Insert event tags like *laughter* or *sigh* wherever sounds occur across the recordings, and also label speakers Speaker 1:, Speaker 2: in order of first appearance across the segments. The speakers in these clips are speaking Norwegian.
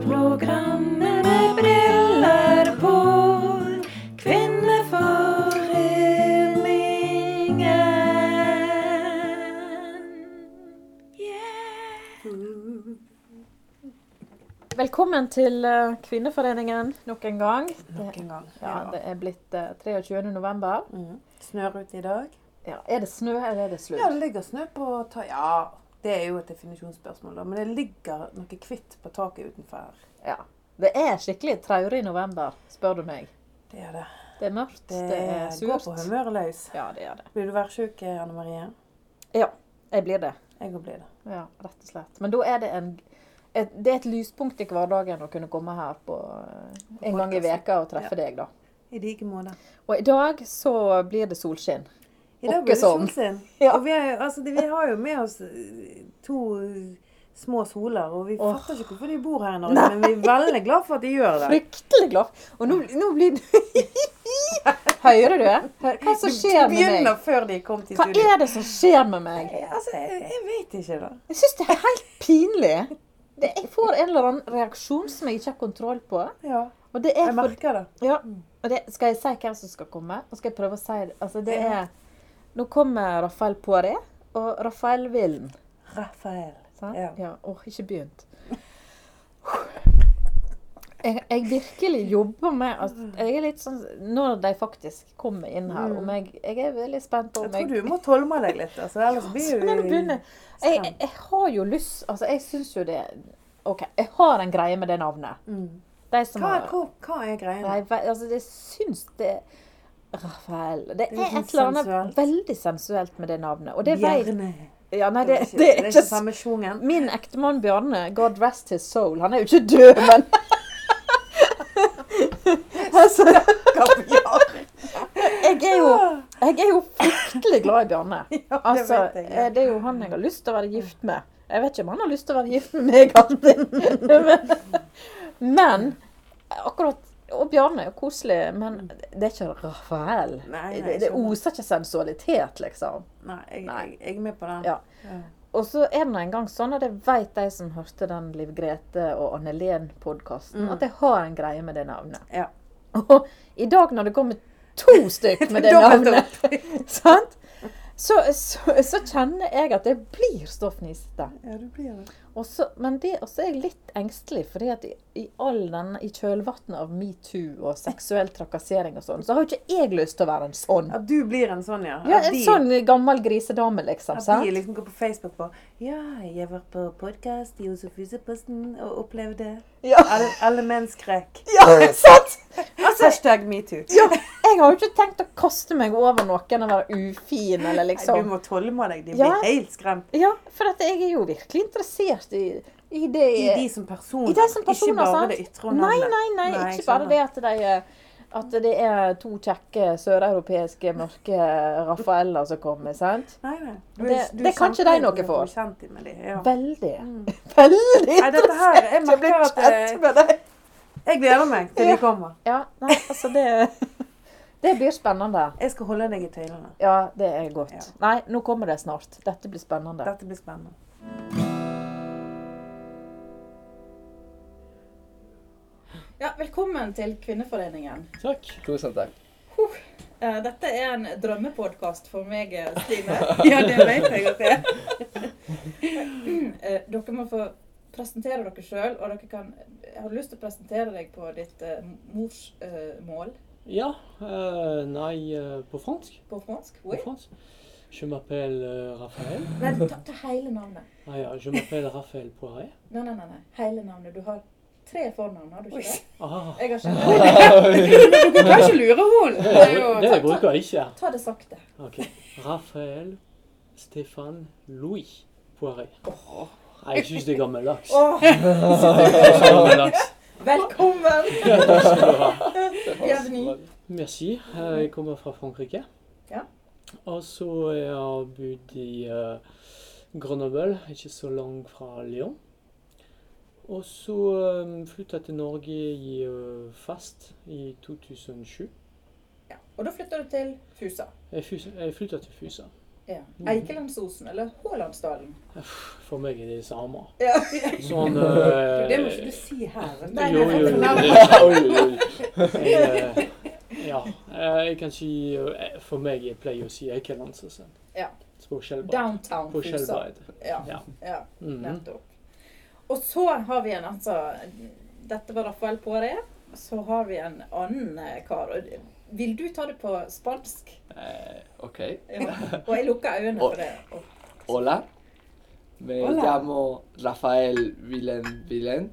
Speaker 1: Radioprogrammet med briller på. Kvinneforeningen.
Speaker 2: Velkommen til eh, Kvinneforeningen nok en gang.
Speaker 3: Nok en gang.
Speaker 2: Ja, det er blitt eh, 23. november.
Speaker 3: Mm. Snør ute i dag.
Speaker 2: Ja, er det snø eller er det sludd?
Speaker 3: Ja, det ligger snø på taket. Ja, det er jo et definisjonsspørsmål, da. Men det ligger noe hvitt på taket utenfor. her.
Speaker 2: Ja. Det er skikkelig traurig november, spør du meg.
Speaker 3: Det er det.
Speaker 2: Det er mørkt, det, er
Speaker 3: går
Speaker 2: surt.
Speaker 3: på humøret løs.
Speaker 2: Ja, det er det.
Speaker 3: Vil du være syk, Anne Marie?
Speaker 2: Ja, jeg blir det.
Speaker 3: Jeg òg blir det.
Speaker 2: Ja, rett og slett. Men da er det en et, det er et lyspunkt i hverdagen å kunne komme her på, eh, en gang i
Speaker 3: podcasten.
Speaker 2: veka og treffe deg, da.
Speaker 3: I like måte.
Speaker 2: Og i dag så blir det solskinn.
Speaker 3: I dag blir det
Speaker 2: Åkkesom.
Speaker 3: solskinn.
Speaker 2: Ja.
Speaker 3: Og vi, er, jo- altså, det- vi har jo med oss eh, to små soler, og vi
Speaker 2: Åh.
Speaker 3: fatter ikke hvorfor de bor her i Norge, men vi er veldig glad for at de gjør det.
Speaker 2: Fryktelig glad. Og nå, nå blir *laughs* Hører du? Hør, hva som skjer
Speaker 3: De
Speaker 2: med
Speaker 3: begynner
Speaker 2: meg?
Speaker 3: før de kom til
Speaker 2: Hva
Speaker 3: studio.
Speaker 2: er det som skjer med meg?
Speaker 3: Altså, jeg, jeg vet ikke, da.
Speaker 2: Jeg syns det er helt pinlig. Det, jeg får en eller annen reaksjon som jeg ikke har kontroll på.
Speaker 3: Ja,
Speaker 2: Og det er
Speaker 3: jeg
Speaker 2: for,
Speaker 3: merker det.
Speaker 2: ja,
Speaker 3: Mm.
Speaker 2: og det, skal jeg si hvem som skal komme? Og skal jeg prøve å si det? Altså, det er Nå kommer Rafael Poiré og Rafael Willen.
Speaker 3: Rafael.
Speaker 2: Sant?
Speaker 3: Ja.
Speaker 2: Ja. Åh, ikke begynt. Jeg, jeg virkelig jobber med at
Speaker 3: Mm.
Speaker 2: jeg er litt sånn, Når de faktisk kommer inn her om jeg, jeg er veldig spent på
Speaker 3: Jeg
Speaker 2: om
Speaker 3: tror
Speaker 2: jeg
Speaker 3: du må tolme deg litt, altså, ellers blir
Speaker 2: Så når du
Speaker 3: du
Speaker 2: begynner jeg, jeg, jeg har jo lyst altså Jeg syns jo det OK, jeg har en greie med det navnet.
Speaker 3: Mm.
Speaker 2: De som
Speaker 3: hva,
Speaker 2: har
Speaker 3: hva, hva er greia?
Speaker 2: Nei, ve- altså, jeg syns det Rafael Det
Speaker 3: er
Speaker 2: er
Speaker 3: sånn
Speaker 2: et eller
Speaker 3: sensuelt.
Speaker 2: annet veldig sensuelt med det navnet. Og det vet
Speaker 3: Bjerne.
Speaker 2: Ja, nei,
Speaker 3: Det
Speaker 2: det,
Speaker 3: er ikke,
Speaker 2: det er ikke
Speaker 3: samme
Speaker 2: *laughs*
Speaker 3: sjungen.
Speaker 2: Min ektemann Bjarne, God rest his soul, han er jo ikke død, men
Speaker 3: *laughs*
Speaker 2: altså,
Speaker 3: *laughs*
Speaker 2: jeg, er jo, jeg er jo fryktelig glad i Bjarne.
Speaker 3: *laughs*
Speaker 2: Altså,
Speaker 3: vet jeg, ja.
Speaker 2: eh, det er jo han jeg har lyst til å være gift med. Jeg vet ikke om han har lyst til å være gift med meg *laughs* alltid. Men akkurat Og Bjarne er jo koselig, men det er ikke Rafael.
Speaker 3: Nei, nei,
Speaker 2: det, det
Speaker 3: skjønner.
Speaker 2: oser ikke sensualitet, liksom.
Speaker 3: Nei, jeg,
Speaker 2: Nei.
Speaker 3: jeg, jeg er med på den.
Speaker 2: Ja. Og så er det nå engang sånn, og det vet de som hørte den Liv Grete og Annelen-podkasten, at jeg har en greie med det navnet.
Speaker 3: Ja.
Speaker 2: *laughs* Og i dag når det kommer to stykk *laughs* med det
Speaker 3: Dobbelt
Speaker 2: navnet, *laughs* sant? Så, så, så kjenner jeg at jeg blir stoff nisete.
Speaker 3: ja, du blir det.
Speaker 2: Og så- Men det, og så er jeg litt engstelig, fordi at i, i all den, i kjølvannet av metoo og seksuell trakassering og sånn, så har jo ikke jeg lyst til å være en sånn.
Speaker 3: At du blir en sånn, ja.
Speaker 2: Ja,
Speaker 3: At
Speaker 2: en sånn gammel grisedame, liksom.
Speaker 3: At
Speaker 2: sant?
Speaker 3: de liksom går på Facebook på Ja, jeg var på podkast i Osefuseposten og opplevde
Speaker 2: Ja.
Speaker 3: alle, alle menn skrek.
Speaker 2: *laughs* Ja, sant?
Speaker 3: Hashtag metoo.
Speaker 2: Ja, jeg har jo ikke tenkt å kaste meg over noen og være ufin, eller
Speaker 3: Nei, Du
Speaker 2: liksom
Speaker 3: må tolme deg. De blir
Speaker 2: Ja.
Speaker 3: helt skremt.
Speaker 2: Ja, for at jeg er jo virkelig interessert i, i det
Speaker 3: I de som personer,
Speaker 2: Eh, i det som
Speaker 3: ikke
Speaker 2: personer,
Speaker 3: bare
Speaker 2: sant?
Speaker 3: det ytre og
Speaker 2: Nei,
Speaker 3: navnet.
Speaker 2: nei, nei,
Speaker 3: Nei,
Speaker 2: ikke bare det
Speaker 3: skjønner.
Speaker 2: at de er- at det er to kjekke søreuropeiske mørke Rafaeller som kommer, sant?
Speaker 3: Nei, nei. Du,
Speaker 2: Det-
Speaker 3: er- du
Speaker 2: det
Speaker 3: er
Speaker 2: kan ikke
Speaker 3: kjent
Speaker 2: de noe
Speaker 3: med det,
Speaker 2: for.
Speaker 3: Du er kjent med det, ja.
Speaker 2: Veldig. *laughs* Veldig
Speaker 3: Mm. Nei, dette her, jeg
Speaker 2: interessert i å bli
Speaker 3: merker at, eh,
Speaker 2: kjent med deg.
Speaker 3: Jeg gleder meg til de kommer.
Speaker 2: Ja, nei, altså det Det blir spennende.
Speaker 3: Jeg skal holde deg i tøylene.
Speaker 2: Ja, det er godt.
Speaker 3: Ja.
Speaker 2: Nei, nå kommer det snart. Dette blir spennende.
Speaker 3: Dette blir spennende.
Speaker 4: Ja, velkommen til Kvinneforeningen.
Speaker 5: Takk. Koset deg.
Speaker 4: Eh, Dette er en drømmepodkast for meg, eh, Stine.
Speaker 3: Ja, det vet jeg at det er.
Speaker 4: Eh, Dere må få presentere dere sjøl, og dere kan Jeg har lyst til å presentere deg på ditt eh, morsmål
Speaker 5: Ja, euh, nei, euh, på fransk.
Speaker 4: på fransk.
Speaker 5: På
Speaker 4: Oui.
Speaker 5: fransk. Je m'appelle euh, Raphaël.
Speaker 4: Nei, ta, ta hele navnet.
Speaker 5: Ah, ja,
Speaker 4: *laughs*
Speaker 5: je m'appelle Raphaël Poiré.
Speaker 4: Nei, nei, nei, nei. Hele navnet. Du har tre fornavn, har du ikke det?
Speaker 5: Ah,
Speaker 4: Jeg har ikke
Speaker 3: Du kan ikke lure henne!
Speaker 5: *laughs* det, er det bruker jeg ikke.
Speaker 4: Ta det sakte.
Speaker 5: Ok. Raphaël Stéphane Louis Poiré. Nei, jeg syns det er gammeldags. *laughs*
Speaker 4: Åh,
Speaker 5: er Gammeldags.
Speaker 4: velkommen!
Speaker 5: Ja, takk skal du ha.
Speaker 4: Bienvenue.
Speaker 5: Merci. Eh,
Speaker 6: Mm-hmm.
Speaker 5: Jeg kommer fra Frankrike.
Speaker 4: Ja.
Speaker 5: Og så har jeg bodd i eh, Grenoble, ikke så langt fra Lyon. Og så um, flytta jeg til Norge i eh, fast i 2007.
Speaker 4: Ja, og da flytter du til Fusa.
Speaker 5: Jeg, fus- jeg flytta til Fusa.
Speaker 2: Ja. Eikelandsosen eller Hålandsdalen?
Speaker 7: For meg er det samer.
Speaker 2: Ja.
Speaker 7: Sånn
Speaker 6: *laughs* Det må ikke
Speaker 7: eh,
Speaker 6: du si her. vet du.
Speaker 2: Nei,
Speaker 7: Jo,
Speaker 2: nei,
Speaker 7: jo, jo.
Speaker 2: nei.
Speaker 5: *laughs*
Speaker 7: Oi, oi, oi. Jeg, eh, Ja. eh, Jeg kan si eh, For meg jeg pleier å si Eikelandsosen.
Speaker 2: Ja.
Speaker 7: På Skjelbreid.
Speaker 2: Downtown
Speaker 7: På
Speaker 2: Fusa.
Speaker 7: Skjelbreid.
Speaker 2: Ja, Mm.
Speaker 7: Ja.
Speaker 2: ja,
Speaker 7: Mhm.
Speaker 2: nettopp. Og så har vi en altså Dette var Rafael Pore. Så har vi en annen eh, kar. og Vil du ta det på spansk?
Speaker 4: Eh, ok.
Speaker 2: Ja. Og jeg lukker øynene for det. Og
Speaker 4: Hola. Me
Speaker 6: Hola.
Speaker 4: llamo Rafael Vilén Vilén.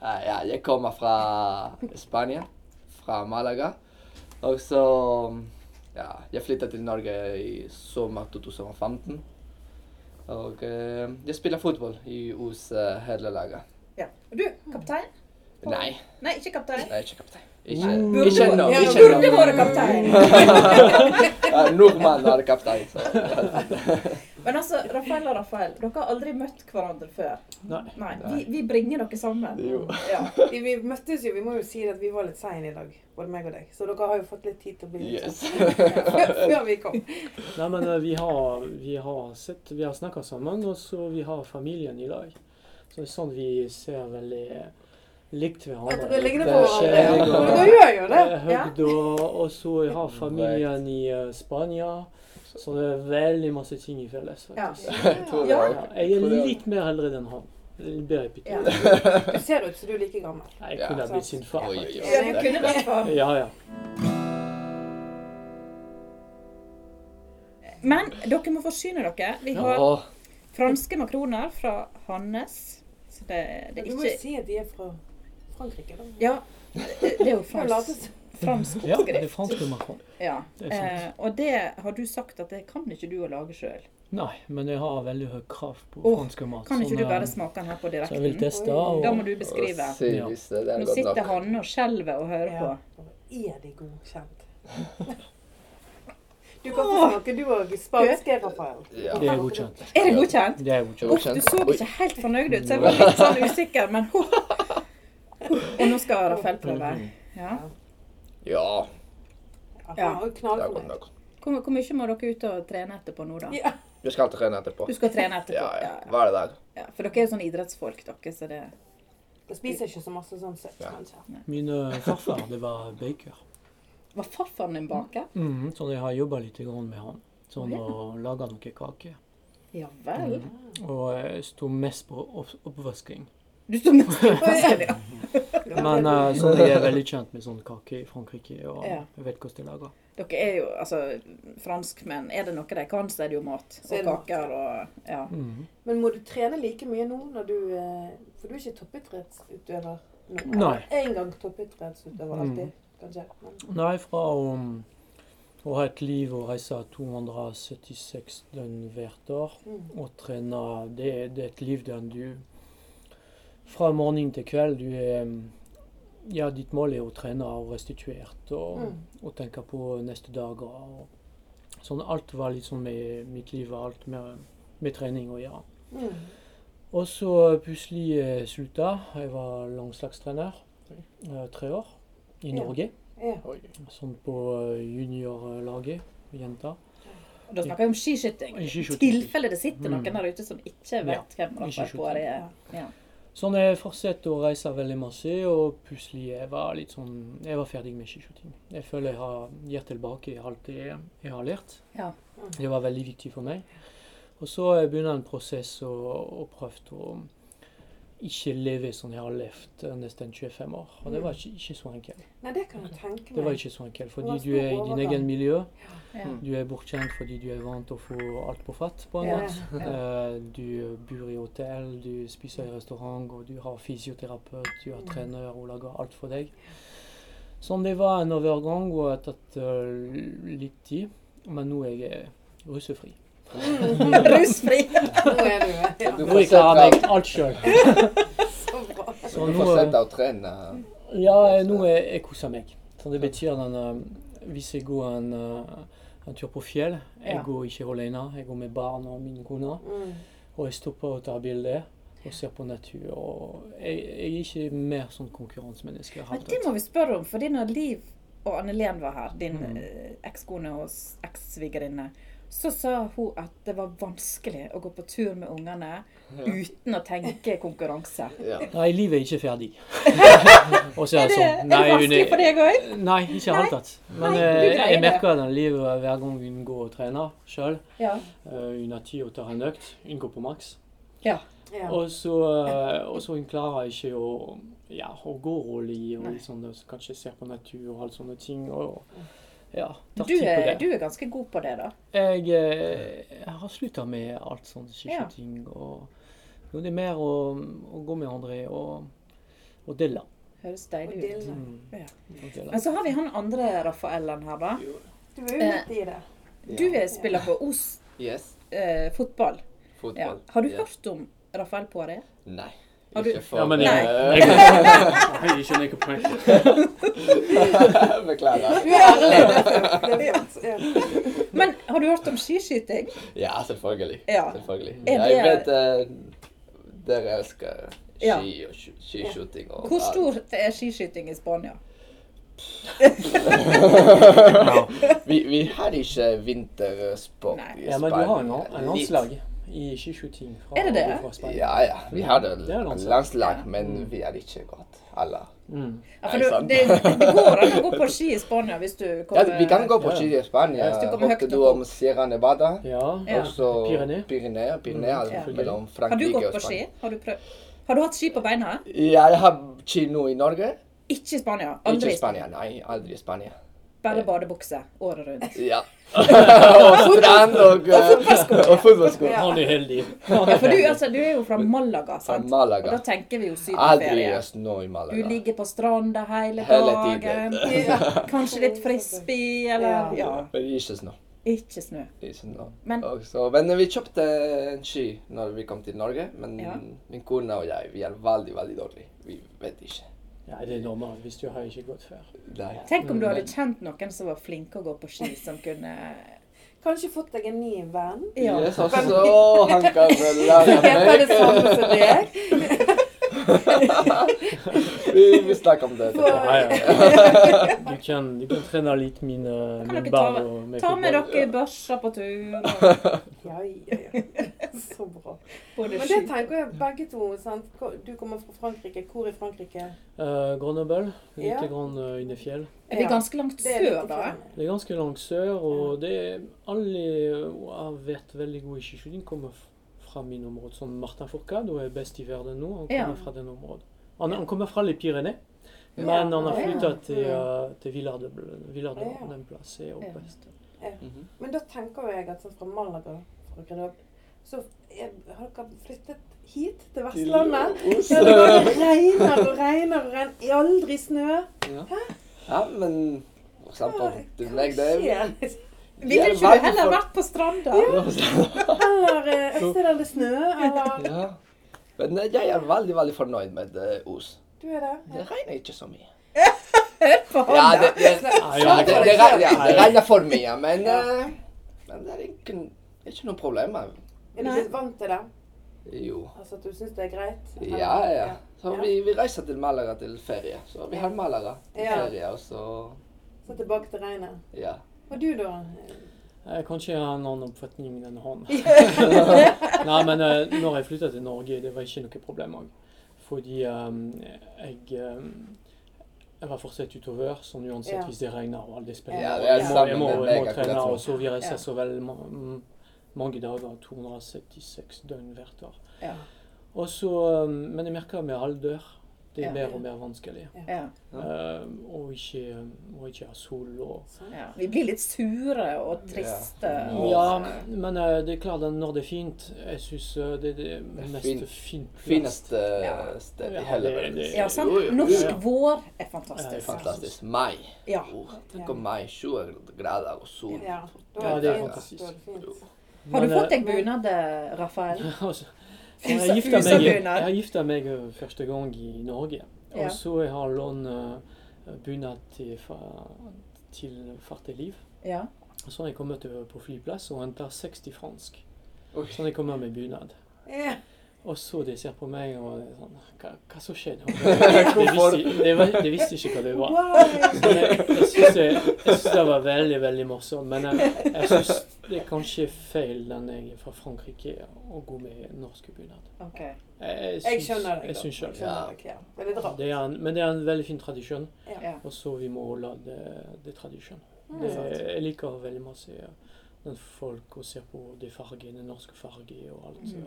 Speaker 4: Ah, ja, jeg kommer fra Spania, fra Malaga. Og så ja, jeg flytta til Norge i sommer 2015. Og eh, jeg spiller fotball i hos eh, hele laget.
Speaker 2: Ja. Og du, kaptein?
Speaker 4: Nei,
Speaker 2: Nei, ikke kaptein.
Speaker 4: nei, ikke kaptein. Ikke,
Speaker 7: Mm.
Speaker 4: ikke ennå.
Speaker 6: Ja,
Speaker 4: Ikke
Speaker 2: Burde
Speaker 4: ennå.
Speaker 2: vært kaptein!
Speaker 4: Ja, Nordmann er kaptein. Så.
Speaker 2: Men altså, Rafael og Rafael, dere har aldri møtt hverandre før.
Speaker 7: Nei.
Speaker 2: Nei, Vi, vi bringer dere sammen.
Speaker 4: Jo.
Speaker 2: Ja.
Speaker 6: Vi, vi møttes jo, vi må jo si at vi var litt seine i dag, både meg og deg. Så dere har jo fått litt tid til å bli litt
Speaker 2: *laughs*
Speaker 4: Yes.
Speaker 6: sånn *laughs* før vi kom.
Speaker 7: Nei, men eh, vi har, vi har sett Vi har snakka sammen, og så vi har familien i lag. Så det er sånn vi ser veldig likt
Speaker 6: At
Speaker 7: hverandre.
Speaker 6: dere ligner på
Speaker 7: Litt, eh,
Speaker 6: hverandre.
Speaker 7: skjegg og-
Speaker 6: Dere gjør jo det.
Speaker 7: Eh, Høgda, og så jeg har familien i eh, Spania. Så det er veldig masse ting i felles. faktisk.
Speaker 4: Jeg tror det
Speaker 2: Ja.
Speaker 4: var-
Speaker 7: Ja, jeg
Speaker 4: tror
Speaker 7: er
Speaker 4: det var-
Speaker 7: litt mer eldre enn han. Litt bedre i
Speaker 2: Ja.
Speaker 7: pikken.
Speaker 6: Du ser ut som du er like gammel.
Speaker 7: Jeg
Speaker 4: Ja.
Speaker 7: kunne ha blitt sin far.
Speaker 4: Oi, oi,
Speaker 7: faktisk.
Speaker 4: oi.
Speaker 2: Ja, du kunne vært far.
Speaker 7: Ja, ja.
Speaker 2: Men dere må forsyne dere. Vi har
Speaker 4: Åh,
Speaker 2: franske makroner fra Hannes. Så det, det er
Speaker 6: Du må jo
Speaker 2: ikke
Speaker 6: si at de er fra Frankrike, da.
Speaker 2: Ja, det det er jo
Speaker 6: Kan jo late
Speaker 2: fransk,
Speaker 6: som.
Speaker 2: fransk
Speaker 5: Ja, det er
Speaker 2: oppskrift.
Speaker 5: fransk makron.
Speaker 2: Ja.
Speaker 7: Det er sant.
Speaker 2: Eh, og det har du sagt at det kan ikke du å lage sjøl.
Speaker 5: Nei, men jeg har veldig høy krav på
Speaker 2: Åh,
Speaker 5: fransk mat.
Speaker 2: Kan ikke
Speaker 5: sånn,
Speaker 2: du
Speaker 5: eh,
Speaker 2: bare smake den her på
Speaker 5: Så jeg vil
Speaker 2: direkten?
Speaker 5: teste.
Speaker 6: Oi.
Speaker 5: Og,
Speaker 2: Da må du
Speaker 4: Å,
Speaker 2: beskrive.
Speaker 4: si
Speaker 5: Ja.
Speaker 4: hvis det er
Speaker 2: Nå
Speaker 4: godt
Speaker 2: sitter
Speaker 4: nok.
Speaker 2: Hanne og skjelver og hører på.
Speaker 6: Ja. Er de godkjent? *laughs* Du kan få snakke, du òg. Spansk er Rafael.
Speaker 4: Ja.
Speaker 5: det er godkjent.
Speaker 2: Er det godkjent?
Speaker 5: Det er godkjent.
Speaker 2: Uff, du så ikke helt fornøyd ut, så jeg var litt sånn usikker, men *laughs* huh. Og nå skal Rafael prøve. Ja.
Speaker 4: Ja,
Speaker 6: Han var jo
Speaker 4: det er godt
Speaker 6: knallfornøyd.
Speaker 4: nok.
Speaker 2: Hvor, hvor mye må dere ut og trene etterpå nå, da?
Speaker 6: Ja.
Speaker 4: Vi skal trene etterpå.
Speaker 2: Du skal trene etterpå?
Speaker 4: Ja, ja.
Speaker 2: Ja,
Speaker 4: Hver dag.
Speaker 2: ja. For dere er jo sånn idrettsfolk, dere, så det
Speaker 6: Jeg spiser ikke så masse sånn søtt,
Speaker 4: Ja.
Speaker 5: *laughs*
Speaker 6: kanskje.
Speaker 5: Min eh, farfar det var baker.
Speaker 2: Var farfaren din baker?
Speaker 5: Mhm, så jeg har jobba litt grann med han. Sånn
Speaker 2: Å, ja.
Speaker 5: å lage noe kake.
Speaker 2: Ja vel?
Speaker 5: Mm. Og jeg sto mest på opp oppvasking.
Speaker 2: Du
Speaker 5: *laughs*
Speaker 2: står med stikkfast, ja.
Speaker 5: Men eh, sånn jeg er veldig kjent med sånn kake i Frankrike, og
Speaker 2: Ja.
Speaker 5: jeg vet hvordan de lager.
Speaker 2: Dere er jo altså franskmenn. Er det noe de kan, så er det jo mat
Speaker 6: Så er det
Speaker 2: og
Speaker 6: mat.
Speaker 2: kaker og ja.
Speaker 5: Mhm.
Speaker 6: Men må du trene like mye nå når du eh, For du er ikke toppidrettsutøver nå?
Speaker 5: Nei.
Speaker 6: En gang toppidrettsutøver alltid,
Speaker 5: Mm.
Speaker 6: kanskje. Men
Speaker 5: Nei, fra å, å ha et liv og reise 276 døgn hvert år
Speaker 6: mm.
Speaker 5: og trene det, det er et liv der du Fra morgen til kveld du er um, Ja, ditt mål er å trene og restituert og,
Speaker 6: Mm.
Speaker 5: og tenke på neste dag. Og, sånn, alt var liksom med mitt liv og alt med, med trening å gjøre.
Speaker 6: Mm.
Speaker 5: Og så plutselig eh, slutta. Jeg var langslagstrener eh, tre år
Speaker 6: Ja.
Speaker 5: i Norge.
Speaker 6: Ja.
Speaker 5: Sånn på eh, juniorlaget, jenter.
Speaker 2: Og Da snakker vi om skiskyting. I
Speaker 5: Eh, skiskyting.
Speaker 2: tilfelle det sitter
Speaker 5: Mm.
Speaker 2: noen der ute som ikke vet hvem Rafael
Speaker 5: skiskyting.
Speaker 2: Poiré er. Ja.
Speaker 5: Sånn jeg fortsatte å reise veldig masse, og plutselig jeg var litt sånn Jeg var ferdig med skiskyting. Jeg føler jeg har gir tilbake alt det jeg har lært.
Speaker 2: Ja.
Speaker 5: Det var veldig viktig for meg. Og så eh, begynner en prosess og, og prøvde å ikke leve sånn jeg har levd eh, nesten 25 år. Og det var ikke, ikke så enkelt.
Speaker 6: Mm. Nei, det kan jeg tenke
Speaker 5: Det var
Speaker 6: meg.
Speaker 5: ikke så enkelt,
Speaker 6: Det var
Speaker 5: fordi
Speaker 6: stor
Speaker 5: du er i din
Speaker 6: overgang.
Speaker 5: egen miljø.
Speaker 2: Ja.
Speaker 5: Du er bortskjemt fordi du er vant til å få alt på fatt, på en *laughs*
Speaker 6: Ja.
Speaker 5: måte. Eh, Du bor i hotell, du spiser i restaurant, og du har fysioterapeut, du har trener og lager alt for deg. Sånn det var en overgang og har tatt eh, litt tid, men nå er jeg russefri.
Speaker 6: *laughs*
Speaker 2: Rusfri!
Speaker 6: Nå er du
Speaker 5: *laughs*
Speaker 6: ja,
Speaker 4: Du
Speaker 5: Nå
Speaker 4: får
Speaker 5: jeg klarer
Speaker 4: sette-
Speaker 5: meg alt sjøl.
Speaker 6: så bra.
Speaker 5: Så
Speaker 4: du
Speaker 5: nå,
Speaker 4: får sette
Speaker 5: eh,
Speaker 4: og trene.
Speaker 5: ja, nå er jeg koser meg. Så det betyr den, eh, hvis jeg går en, eh, en tur på fjell, jeg
Speaker 2: Ja.
Speaker 5: går ikke alene, jeg går med barn og min kone.
Speaker 6: Mm.
Speaker 5: Og jeg stopper og tar bilder og ser på natur. og Jeg, jeg er ikke mer sånn konkurransemenneske. jeg har
Speaker 2: Men det
Speaker 5: tatt.
Speaker 2: må vi spørre om,
Speaker 5: Mm.
Speaker 2: fordi når Liv og Anne Len var her, din eh, ekskone og s- ekssvigerinne, så sa hun at det var vanskelig å gå på tur med ungene uten å tenke konkurranse.
Speaker 4: Ja.
Speaker 5: Nei, livet er ikke ferdig. Og så
Speaker 2: Er det, er
Speaker 5: sånn,
Speaker 2: det
Speaker 5: nei, hun
Speaker 2: vanskelig for deg òg?
Speaker 5: Nei, ikke i det hele tatt. Men
Speaker 2: Nei, du
Speaker 5: eh,
Speaker 2: greier
Speaker 5: jeg
Speaker 2: det.
Speaker 5: merker den livet hver gang hun går og trener sjøl.
Speaker 2: Ja.
Speaker 5: Hun har tid å ta en økt. Hun går på maks.
Speaker 6: Ja.
Speaker 5: Og så, eh, og så hun klarer ikke å, ja, å gå rolig og
Speaker 2: Nei.
Speaker 5: litt sånn, og så kanskje se på natur og alt sånne ting. Og, ja, tar
Speaker 2: Du
Speaker 5: tid på
Speaker 2: er,
Speaker 5: det.
Speaker 2: du er ganske god på det, da.
Speaker 5: Jeg, eh, jeg har slutta med alt sånne
Speaker 2: Ja.
Speaker 5: slike ting. Og nå er det mer å, å gå med André og, og dille.
Speaker 2: Høres
Speaker 6: Og
Speaker 2: deilig ut.
Speaker 6: Dylan.
Speaker 5: Mm.
Speaker 2: Ja.
Speaker 5: Og dille.
Speaker 2: Men så har vi han andre Rafaellen her, da.
Speaker 6: Du er jo midt i det.
Speaker 2: Du er spiller på Os
Speaker 4: Yes.
Speaker 2: eh, fotball. Ja.
Speaker 4: Fotball.
Speaker 2: Har du
Speaker 4: Ja.
Speaker 2: hørt om Rafael Poiré?
Speaker 4: Nei.
Speaker 2: Har du-
Speaker 4: Ikke for
Speaker 7: Ja, men
Speaker 2: Nei.
Speaker 7: jeg, jeg, jeg, jeg skjønner ikke poenget.
Speaker 4: *laughs* Beklager.
Speaker 6: Du er ærlig.
Speaker 5: Eh.
Speaker 6: Det er sant. Ja.
Speaker 2: Men har du hørt om skiskyting?
Speaker 4: Ja, selvfølgelig.
Speaker 2: Ja.
Speaker 4: selvfølgelig.
Speaker 2: Er
Speaker 4: Ja, jeg
Speaker 2: det-
Speaker 4: vet eh, dere elsker
Speaker 2: Ja.
Speaker 4: ski og sk- skiskyting. og
Speaker 2: Hvor
Speaker 4: alt.
Speaker 2: stort er skiskyting i Spania?
Speaker 4: Vi, vi har ikke vintersport
Speaker 2: Nei.
Speaker 4: i
Speaker 5: Ja, men du har en,
Speaker 4: Spania.
Speaker 5: en landslag i skiskyting fra,
Speaker 2: Er det det?
Speaker 5: fra Spania.
Speaker 4: Ja, ja. Vi har det
Speaker 5: Det er landslag.
Speaker 4: landslag, men vi er ikke godt. Alle.
Speaker 5: Mm.
Speaker 2: Ja,
Speaker 4: Nei,
Speaker 2: for du,
Speaker 4: sant.
Speaker 2: det, det går an å gå på ski i Spania hvis du
Speaker 4: Ja, altså,
Speaker 2: kommer
Speaker 4: vi kan gå på
Speaker 5: Ja.
Speaker 4: ski i Spania.
Speaker 2: Hvis du kommer
Speaker 4: Hørte
Speaker 2: høyt
Speaker 4: du
Speaker 2: opp.
Speaker 4: om Sierra Nevada?
Speaker 5: Ja.
Speaker 2: Ja. Mm,
Speaker 4: Og så
Speaker 5: Pyrenées.
Speaker 4: Pyrenées, Pyrenées
Speaker 2: Ja. Har
Speaker 4: mellom
Speaker 2: du
Speaker 4: Frankrike
Speaker 2: gått
Speaker 4: og
Speaker 2: på ski?
Speaker 4: Spania.
Speaker 2: Har du, prøvd? har du hatt ski på beina?
Speaker 4: Ja, jeg har ski nå i Norge.
Speaker 2: Ikke i Spania.
Speaker 4: Ikke
Speaker 2: Aldri
Speaker 4: i
Speaker 2: i Spania.
Speaker 4: Spania, nei. Aldri i Spania.
Speaker 2: Bare badebukse året rundt. *laughs*
Speaker 4: Ja. og strand og, eh, *laughs* og fotballsko.
Speaker 5: Han er heldig.
Speaker 2: Ja, for du, altså, du er jo fra Malaga,
Speaker 4: Fra
Speaker 2: sant? Og da
Speaker 4: Malaga.
Speaker 2: tenker vi jo
Speaker 4: Aldri
Speaker 2: sydenferie.
Speaker 4: er snø i
Speaker 2: Du
Speaker 4: Malaga.
Speaker 2: ligger på stranda hele
Speaker 4: Hele tiden.
Speaker 2: dagen. *laughs* Kanskje litt frisbee, eller Ja.
Speaker 4: Men ikke snø.
Speaker 2: Ikke snø.
Speaker 4: Ikke snø.
Speaker 2: Men-
Speaker 4: Og så, men vi kjøpte en ski når vi kom til Norge, men
Speaker 2: Ja.
Speaker 4: min kone og jeg vi er veldig veldig dårlige. Vi vet ikke.
Speaker 5: Ja, det er normalt hvis du har ikke gått før.
Speaker 4: Nei.
Speaker 2: Tenk om du hadde
Speaker 6: Mm,
Speaker 4: Men-
Speaker 2: kjent noen som var flinke å gå på ski, som kunne
Speaker 4: *laughs*
Speaker 6: Kanskje fått deg en ny venn.
Speaker 2: Ja.
Speaker 4: Yes,
Speaker 2: *laughs*
Speaker 4: og så han kan vel lære
Speaker 6: Heter det
Speaker 4: meg.
Speaker 6: samme som deg?
Speaker 4: Vi, vi snakker om det. etterpå.
Speaker 5: Ja, ja. *laughs* Du kan, du kan trene litt min, eh,
Speaker 2: Kan
Speaker 5: min
Speaker 2: dere
Speaker 5: bar
Speaker 2: ta-
Speaker 5: og
Speaker 2: Ta med
Speaker 5: fotball.
Speaker 2: dere børsa på tur. og
Speaker 4: *laughs*
Speaker 6: Ja, ja, *laughs* ja. Så bra.
Speaker 2: Både
Speaker 6: Men det
Speaker 2: ski
Speaker 6: tenker jeg begge to. Sant? Hvor- Du kommer fra Frankrike. Hvor i Frankrike?
Speaker 5: Eh, Grenoble, lite
Speaker 6: Ja.
Speaker 5: grann eh, under fjell.
Speaker 2: Er vi
Speaker 6: Ja.
Speaker 2: ganske langt
Speaker 6: Det er litt
Speaker 2: sør, da?
Speaker 6: forskjellig.
Speaker 5: Det er ganske langt sør, og det er alle eh, har vært veldig gode i skiskyting, kommer f- fra min område. Sånn Martin Fourcade hun er best i verden nå, han
Speaker 2: Ja.
Speaker 5: kommer fra den området. Han, han kommer fra Les Pyrénées,
Speaker 4: Ja.
Speaker 5: men han har
Speaker 6: Ja.
Speaker 5: flyttet til,
Speaker 6: Ja.
Speaker 5: eh, til Villard de Villard de-
Speaker 6: Ja.
Speaker 5: den plassen er jo
Speaker 2: Ja.
Speaker 5: best.
Speaker 4: Mhm.
Speaker 6: Men da tenker jo jeg at sånn fra Malaga fra Grenoble, så er, har dere flyttet hit til Vestlandet? Ja, det bare regner og regner og regner. I aldri snø.
Speaker 4: Ja, men for eksempel til meg, det er
Speaker 6: Skjer.
Speaker 2: Ville
Speaker 4: Ja,
Speaker 2: ikke du
Speaker 4: verden
Speaker 2: heller
Speaker 4: for-
Speaker 2: vært på stranda?
Speaker 6: Eller eh, et sted der det snør, eller
Speaker 4: ja. *laughs* Men eh, jeg er veldig, veldig fornøyd med eh, Os.
Speaker 6: Du er der?
Speaker 4: Det regner ikke så mye.
Speaker 2: På
Speaker 4: Ja,
Speaker 2: hånda?
Speaker 4: det, det, ja,
Speaker 5: Ah, ja,
Speaker 4: det, det, regner, ja, det regner for mye, men, eh, men det er ikke, ikke noe problem. eh.
Speaker 6: Er du
Speaker 2: Nei.
Speaker 6: blitt vant til det?
Speaker 4: Jo.
Speaker 6: Altså at du syns det er greit? eller?
Speaker 4: Ja, ja. Så
Speaker 6: Ja.
Speaker 4: vi, vi reiser til Malaga til ferie. Så vi har Malaga til
Speaker 6: Ja.
Speaker 4: ferie, og så
Speaker 6: Så tilbake til regnet.
Speaker 4: Ja.
Speaker 6: Og du, da? eh,
Speaker 5: Jeg kan ikke ha en annen oppfatning enn han. *laughs* Nei, men eh, når jeg flyttet til Norge, det var ikke noe problem òg. Fordi eh, jeg eh, jeg var fortsatt utover, sånn uansett
Speaker 6: Ja.
Speaker 5: hvis det regner og alle spiller.
Speaker 4: Ja,
Speaker 5: og
Speaker 4: det er
Speaker 5: jeg må,
Speaker 4: sammen
Speaker 5: jeg må,
Speaker 4: med
Speaker 5: jeg
Speaker 4: meg
Speaker 5: må
Speaker 4: akkurat
Speaker 5: trene,
Speaker 4: nå.
Speaker 5: og så vi reiser
Speaker 2: Ja.
Speaker 5: så vel ma- mm, mange dager, 276 døgn hvert år.
Speaker 2: Ja.
Speaker 5: Og så, eh, men jeg merker med alder det er
Speaker 2: Ja.
Speaker 5: mer og mer vanskelig.
Speaker 2: Ja,
Speaker 5: Eh, og ikke, og ikke ha sol og
Speaker 2: ja. Vi blir litt sure og triste.
Speaker 4: Ja.
Speaker 2: og-
Speaker 5: Ja, men eh, det er klart at når det er fint Jeg syns eh, det er det mest
Speaker 4: fint.
Speaker 5: fint plass.
Speaker 4: Fineste
Speaker 2: Ja.
Speaker 4: eh, sted i
Speaker 5: Ja,
Speaker 4: hele
Speaker 5: det-
Speaker 4: verden.
Speaker 5: det-
Speaker 2: Ja, sant?
Speaker 4: Jo, jo, jo.
Speaker 2: Norsk
Speaker 5: Ja.
Speaker 2: vår er
Speaker 5: Ja,
Speaker 2: fantastisk.
Speaker 4: Fantastisk. Mai.
Speaker 2: Ja.
Speaker 4: Oh, tenk om mai. 20 grader og sol.
Speaker 6: Ja. Da
Speaker 5: Ja,
Speaker 6: er
Speaker 5: det
Speaker 6: det
Speaker 5: er
Speaker 6: fint.
Speaker 5: fantastisk.
Speaker 6: Da er det fint.
Speaker 2: Har du
Speaker 5: Men, *laughs*
Speaker 2: fått
Speaker 5: eh,
Speaker 2: deg bunad, Rafael? *laughs*
Speaker 5: altså,
Speaker 2: Fusa-
Speaker 5: Jeg gifta meg, jeg
Speaker 2: fusabunad.
Speaker 5: har gifta meg eh, første gang i Norge.
Speaker 2: Ja.
Speaker 5: Og så jeg har jeg lånt eh, bunad til, fa- til Farte Liv.
Speaker 2: Ja.
Speaker 5: Og Så jeg eh, kommer til på flyplass og henter 60 fransk.
Speaker 4: Oi.
Speaker 5: Sånn jeg kommer med bunad.
Speaker 6: Ja.
Speaker 5: Og så de ser på meg og det er sånn Hva, hva som skjer nå? De visste, de, de visste ikke hva det var.
Speaker 3: Wow!
Speaker 5: Men jeg, jeg syns jeg, jeg synes det var veldig veldig morsomt. Men jeg, jeg syns det er kanskje feil den jeg er fra Frankrike å gå med norsk bunad.
Speaker 2: Ok.
Speaker 3: Jeg skjønner deg.
Speaker 5: Jeg syns
Speaker 3: da.
Speaker 5: selv.
Speaker 3: Jeg skjønner deg, ja. Men det er rart.
Speaker 5: Det er en, men det er en veldig fin tradisjon,
Speaker 2: Ja.
Speaker 5: og så vi må holde det, det tradisjonen.
Speaker 3: Mm.
Speaker 5: Det, jeg liker veldig masse ja, den folk og ser på de fargene, norske farger og alt. Så.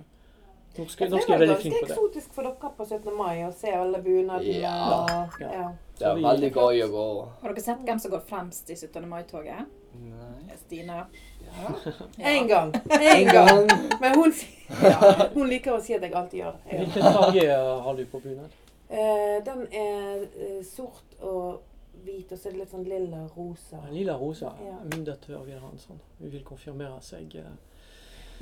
Speaker 5: Norske,
Speaker 3: Jeg tror Mm. Det
Speaker 5: norske er
Speaker 3: var
Speaker 5: veldig fine
Speaker 3: ganske
Speaker 5: på det. *laughs*
Speaker 3: eksotisk for dere på 17. mai å se alle bunadene.
Speaker 4: Ja.
Speaker 3: og-
Speaker 5: Ja.
Speaker 3: Ja.
Speaker 4: Det er veldig gøy å gå.
Speaker 2: Har dere sett hvem som går fremst i 17. mai-toget?
Speaker 4: Nei.
Speaker 2: Stine. *laughs*
Speaker 3: En gang.
Speaker 4: En gang.
Speaker 3: Men hun,
Speaker 5: *laughs*
Speaker 3: sier- ja, hun liker å si at jeg alltid gjør det. Jeg-
Speaker 5: Hvilken farge har du på bunad?
Speaker 3: Eh, Den er eh, sort og hvit, og så er det litt sånn lilla rosa.
Speaker 5: Lilla rosa.
Speaker 3: Ja.
Speaker 5: Min datter vil ha en sånn. Hun vil konfirmere seg. eh,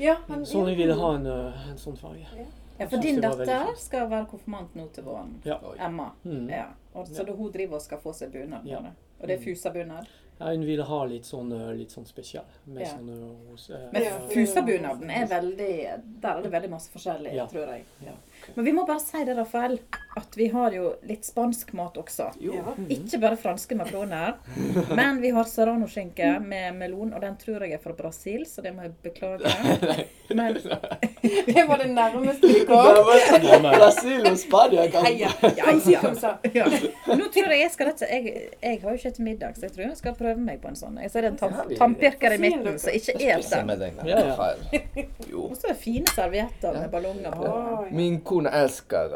Speaker 3: Ja, men-
Speaker 5: Sånn vi ville ha en, eh, en sånn farge.
Speaker 2: Ja, for
Speaker 5: Jeg
Speaker 2: din
Speaker 5: synes det var veldig
Speaker 2: datter
Speaker 5: fint.
Speaker 2: skal være konfirmant nå til våren.
Speaker 5: Ja.
Speaker 4: Oi.
Speaker 2: Emma.
Speaker 5: Mm.
Speaker 2: Ja. Og, så
Speaker 5: Ja.
Speaker 2: da hun driver og skal få seg bunad.
Speaker 5: Ja. Mm.
Speaker 2: bare. Og det er Fusa-bunad.
Speaker 5: Ja, hun Ah, ville ha litt sånn, eh, litt sånn spesial. Med
Speaker 2: Ja.
Speaker 5: sånn eh, rose... eh,
Speaker 2: Men
Speaker 3: Ja.
Speaker 2: Fusa-bunaden er veldig Der er det veldig masse forskjellig,
Speaker 5: Ja.
Speaker 2: tror jeg.
Speaker 5: Ja.
Speaker 2: Men vi må bare si det, Rafael, at vi har jo litt spansk mat også.
Speaker 3: Ja.
Speaker 2: Ikke bare franske makroner, men vi har serranoskinke med melon, og den tror jeg er fra Brasil, så det må jeg beklage. Men
Speaker 3: Det var det nærmeste vi
Speaker 5: *laughs*
Speaker 3: kom.
Speaker 4: Det var Brasil og Spania. kan- *laughs*
Speaker 3: Heia. Kom, si kom, sa.
Speaker 2: altså, Ja. Nå tror jeg jeg skal rett og slett- jeg, jeg har jo ikke et middag, så jeg tror jeg skal prøve meg på en sånn. Jeg ser en tam- tannpirker i midten som ikke er
Speaker 4: Spise
Speaker 2: den.
Speaker 4: med deg, da.
Speaker 5: Ja, ja.
Speaker 4: Rafael. Jo.
Speaker 2: Og så er det fine servietter med ballonger på.
Speaker 3: Oi.
Speaker 4: Min kone elsker eh,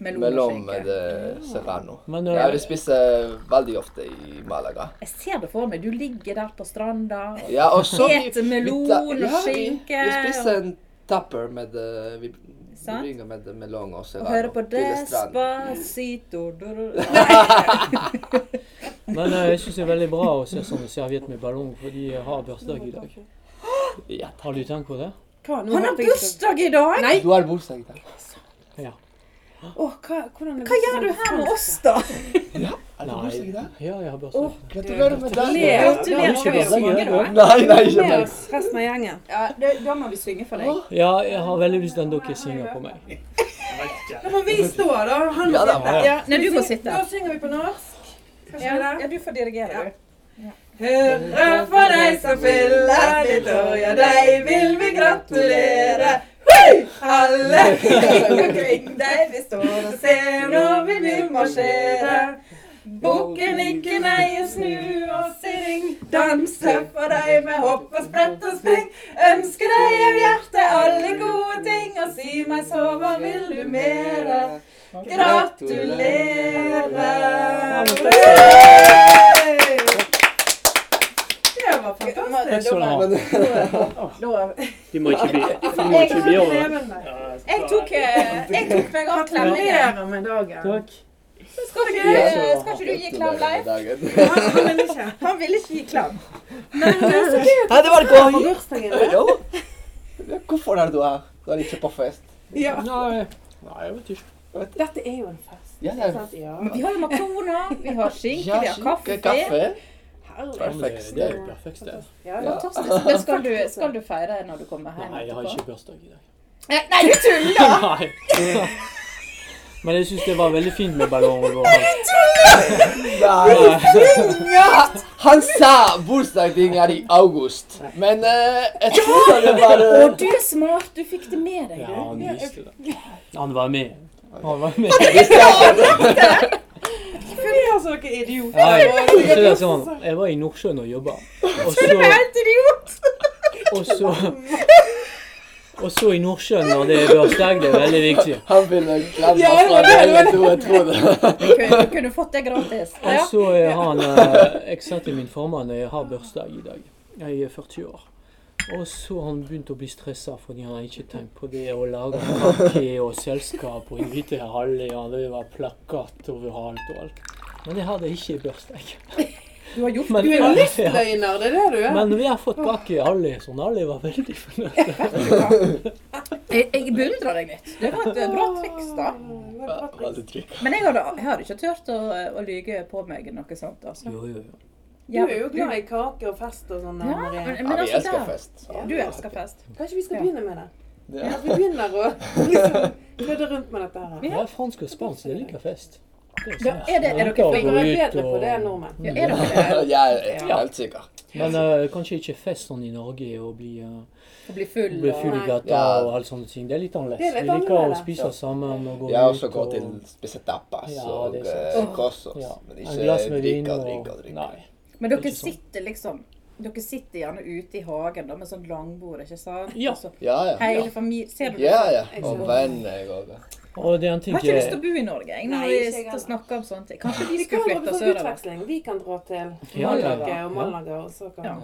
Speaker 4: melon med
Speaker 2: Melonskinke.
Speaker 4: eh, serrano.
Speaker 8: Men eh,
Speaker 4: Ja, de spiser veldig ofte i Malaga.
Speaker 2: Jeg ser det for meg. Du ligger der på stranda. og-
Speaker 4: Ja, og så
Speaker 2: Et melon og skinke
Speaker 4: Vi, vi spiser
Speaker 2: og-
Speaker 4: en tapper med eh, Vi
Speaker 2: Sant?
Speaker 4: bringer med melon og
Speaker 2: Og
Speaker 4: serrano.
Speaker 2: hører på
Speaker 4: til strand.
Speaker 2: Despacito du-
Speaker 8: Men eh, jeg syns det er veldig bra å se sånne serviett med ballong, for de har bursdag i dag.
Speaker 4: Ja.
Speaker 8: Har du tenkt på
Speaker 5: hein.
Speaker 8: det?
Speaker 3: Hva, nå
Speaker 2: Han har
Speaker 3: hørte jeg ikke.
Speaker 2: bursdag i dag!
Speaker 3: Nei!
Speaker 4: Du har bursdag i dag.
Speaker 3: Åh, hva, hvordan er
Speaker 2: Hva gjør du her med oss, da?
Speaker 4: Er det bursdag i dag?
Speaker 8: Ja, jeg har bursdag.
Speaker 4: Gratulerer med dagen.
Speaker 3: Gratulerer.
Speaker 2: Gratulerer.
Speaker 3: Ja, det
Speaker 5: hein.
Speaker 2: Skal vi synge, da?
Speaker 4: Nei, nei, ikke
Speaker 3: Med
Speaker 4: meg.
Speaker 3: oss, resten av gjengen.
Speaker 2: Ja, det- Da må vi synge for deg.
Speaker 8: Ja, jeg har veldig lyst til at dere synger på meg.
Speaker 3: Da må vi stå, da. Han
Speaker 4: Ja, da må jeg.
Speaker 2: Nei, du må sitte.
Speaker 3: Da synger vi på norsk. Skal vi
Speaker 2: Ja,
Speaker 3: det?
Speaker 2: ja, du får dirigere, du.
Speaker 3: Hurra for deg som fyller ditt år, ja, deg vil vi gratulere. Hei!
Speaker 2: *laughs*
Speaker 3: Alle omkring deg vi står og ser når vi vil marsjere. Bukken ikke nei, snu og syng. Danse for deg med hopp og sprett og spring. Ønske deg av hjertet alle gode ting, og si meg så, hva vil du mere? Gratulerer! Det var
Speaker 5: Takk skal du ha.
Speaker 4: Men-
Speaker 5: De må ikke bli, de må ikke bli over.
Speaker 3: fantastisk.
Speaker 2: Jeg tok, eh, jeg tok meg av klemningen.
Speaker 3: Gratulerer med dagen.
Speaker 5: Takk.
Speaker 2: Skal ikke
Speaker 4: Ja,
Speaker 2: du,
Speaker 4: så-
Speaker 2: skal ikke du gi klem, Leif?
Speaker 4: Gratulerer med dagen.
Speaker 3: Han vil ikke.
Speaker 2: Han ville ikke gi klem.
Speaker 4: Ja, det var gøy.
Speaker 3: På bursdagen.
Speaker 4: *laughs* Jo. Ja, Hvorfor er du her? Du er ikke på fest.
Speaker 3: Ja.
Speaker 5: Nei, nei, jeg vet ikke.
Speaker 3: Dette er jo en fest.
Speaker 4: Ja, det
Speaker 3: ikke
Speaker 4: er-
Speaker 3: sant? Ja.
Speaker 2: Men vi har jo makroner, vi har skinke, vi
Speaker 4: Ja,
Speaker 2: har
Speaker 4: skinke,
Speaker 2: kaffe.
Speaker 4: kaffe.
Speaker 3: Herlig.
Speaker 5: Ja, men Det,
Speaker 4: Perfekt.
Speaker 5: det er jo perfekt, det.
Speaker 3: Ja,
Speaker 4: Ja.
Speaker 2: Fantastisk. Men skal du, skal du feire når du kommer hjem?
Speaker 5: Nei, jeg har
Speaker 2: etterpå?
Speaker 5: ikke bursdag i dag.
Speaker 2: Nei, nei, du tuller!
Speaker 5: *laughs* Nei.
Speaker 8: Men jeg syns det var veldig fint med ballong. og-
Speaker 4: Nei. Han sa bursdagen er i august, men eh, jeg trodde det var
Speaker 2: Å,
Speaker 4: eh,
Speaker 2: du er smart. Du fikk det med deg.
Speaker 5: Ja,
Speaker 2: du.
Speaker 5: han visste det.
Speaker 8: Han var med. Han var
Speaker 5: *laughs*
Speaker 8: med.
Speaker 3: Fy, altså, dere er idioter.
Speaker 8: Ja, jeg, jeg, jeg, sånn, jeg var i Nordsjøen og
Speaker 5: *laughs*
Speaker 8: jobba. Og så Og så
Speaker 5: *laughs*
Speaker 8: Og så i Nordsjøen når det er bursdag, det er veldig viktig.
Speaker 4: Han ville klemme
Speaker 3: Ja, det
Speaker 4: fra
Speaker 3: var det, det var
Speaker 4: dere to, jeg tror det.
Speaker 5: *laughs*
Speaker 2: Du kunne, du kunne fått det gratis.
Speaker 8: Og
Speaker 2: Ja.
Speaker 8: så er han eh, Jeg sa til min formann jeg har bursdag i dag. Jeg er 40 år. Og så han begynte å bli stressa fordi han ikke tenkte på det å lage kake og selskap og invitere alle. Ja, det var plakat overalt og alt. Men jeg hadde ikke bursdag.
Speaker 2: Du har gjort
Speaker 8: Men,
Speaker 3: Du er en livsløgner, det er det du er.
Speaker 8: men vi har fått kake, alle. Sånn alle var veldig fornøyd.
Speaker 2: Jeg, jeg beundrer deg litt. Det var et bra triks, da.
Speaker 4: Veldig trykk.
Speaker 2: Men jeg hadde, jeg hadde ikke turt å, å lyge på meg noe sånt. Altså.
Speaker 8: Jo, jo, jo.
Speaker 3: Du er jo glad i kake og fest og sånn.
Speaker 2: Ja,
Speaker 3: Marie.
Speaker 2: men,
Speaker 4: Ja,
Speaker 2: men
Speaker 4: vi
Speaker 2: altså,
Speaker 4: elsker
Speaker 2: der-
Speaker 4: fest.
Speaker 2: Du elsker fest.
Speaker 3: Kanskje vi skal begynne med det?
Speaker 4: Ja.
Speaker 3: Ja, vi begynner å liksom kødde rundt med dette her.
Speaker 5: Det er fransk og spansk, jeg liker fest. Det
Speaker 2: Ja,
Speaker 8: sånn.
Speaker 5: sant.
Speaker 2: er det- er
Speaker 5: Man
Speaker 2: dere
Speaker 5: kan
Speaker 3: Vi
Speaker 5: gå
Speaker 3: er
Speaker 5: ut
Speaker 3: bedre på
Speaker 5: og-
Speaker 3: det enn nordmenn.
Speaker 2: Ja, er dere det?
Speaker 4: Jeg er
Speaker 3: Ja.
Speaker 4: helt sikker.
Speaker 5: Men eh, kanskje ikke fest sånn i Norge og bli, eh,
Speaker 2: Å bli full
Speaker 5: bli
Speaker 2: og
Speaker 5: full i gata
Speaker 4: Ja.
Speaker 5: og alle sånne ting. Det er litt annerledes.
Speaker 3: Det er litt
Speaker 5: Vi liker å
Speaker 3: annerledes.
Speaker 5: spise sammen og gå
Speaker 4: Jeg også
Speaker 5: ut
Speaker 4: går
Speaker 5: og
Speaker 4: til spise tapas
Speaker 5: Ja,
Speaker 4: og
Speaker 5: det er
Speaker 4: eh,
Speaker 5: sant.
Speaker 4: kosos,
Speaker 5: ja,
Speaker 4: men
Speaker 5: en
Speaker 4: ikke
Speaker 5: glass med vin
Speaker 4: drikke og
Speaker 5: og-
Speaker 4: drikke og drikke.
Speaker 5: Nei.
Speaker 2: Men dere
Speaker 5: Ikke
Speaker 4: sånn.
Speaker 5: sant.
Speaker 2: sitter liksom Dere sitter gjerne ute i hagen da, med sånn langbord, ikke sant?
Speaker 5: Ja.
Speaker 2: Og så
Speaker 4: Ja, ja.
Speaker 2: Hele familien Ser du
Speaker 4: Ja, ja.
Speaker 3: Jeg
Speaker 4: Og
Speaker 3: ser.
Speaker 4: venner og
Speaker 5: Og det er en ting
Speaker 2: Har ikke
Speaker 5: jeg-
Speaker 2: lyst til å bo i Norge, jeg, når
Speaker 3: Nei,
Speaker 2: vi
Speaker 3: ikke jeg
Speaker 2: sitter og
Speaker 3: heller.
Speaker 2: snakker om sånne ting. Kanskje vi
Speaker 3: Vi
Speaker 2: skulle
Speaker 3: skal dra
Speaker 2: flytte
Speaker 3: på sånn
Speaker 2: sørover?
Speaker 3: utveksling. Vi kan dra til
Speaker 5: Ja, ja,
Speaker 3: Malaga
Speaker 5: ja.
Speaker 3: og Malaga, og så kan
Speaker 2: Ja.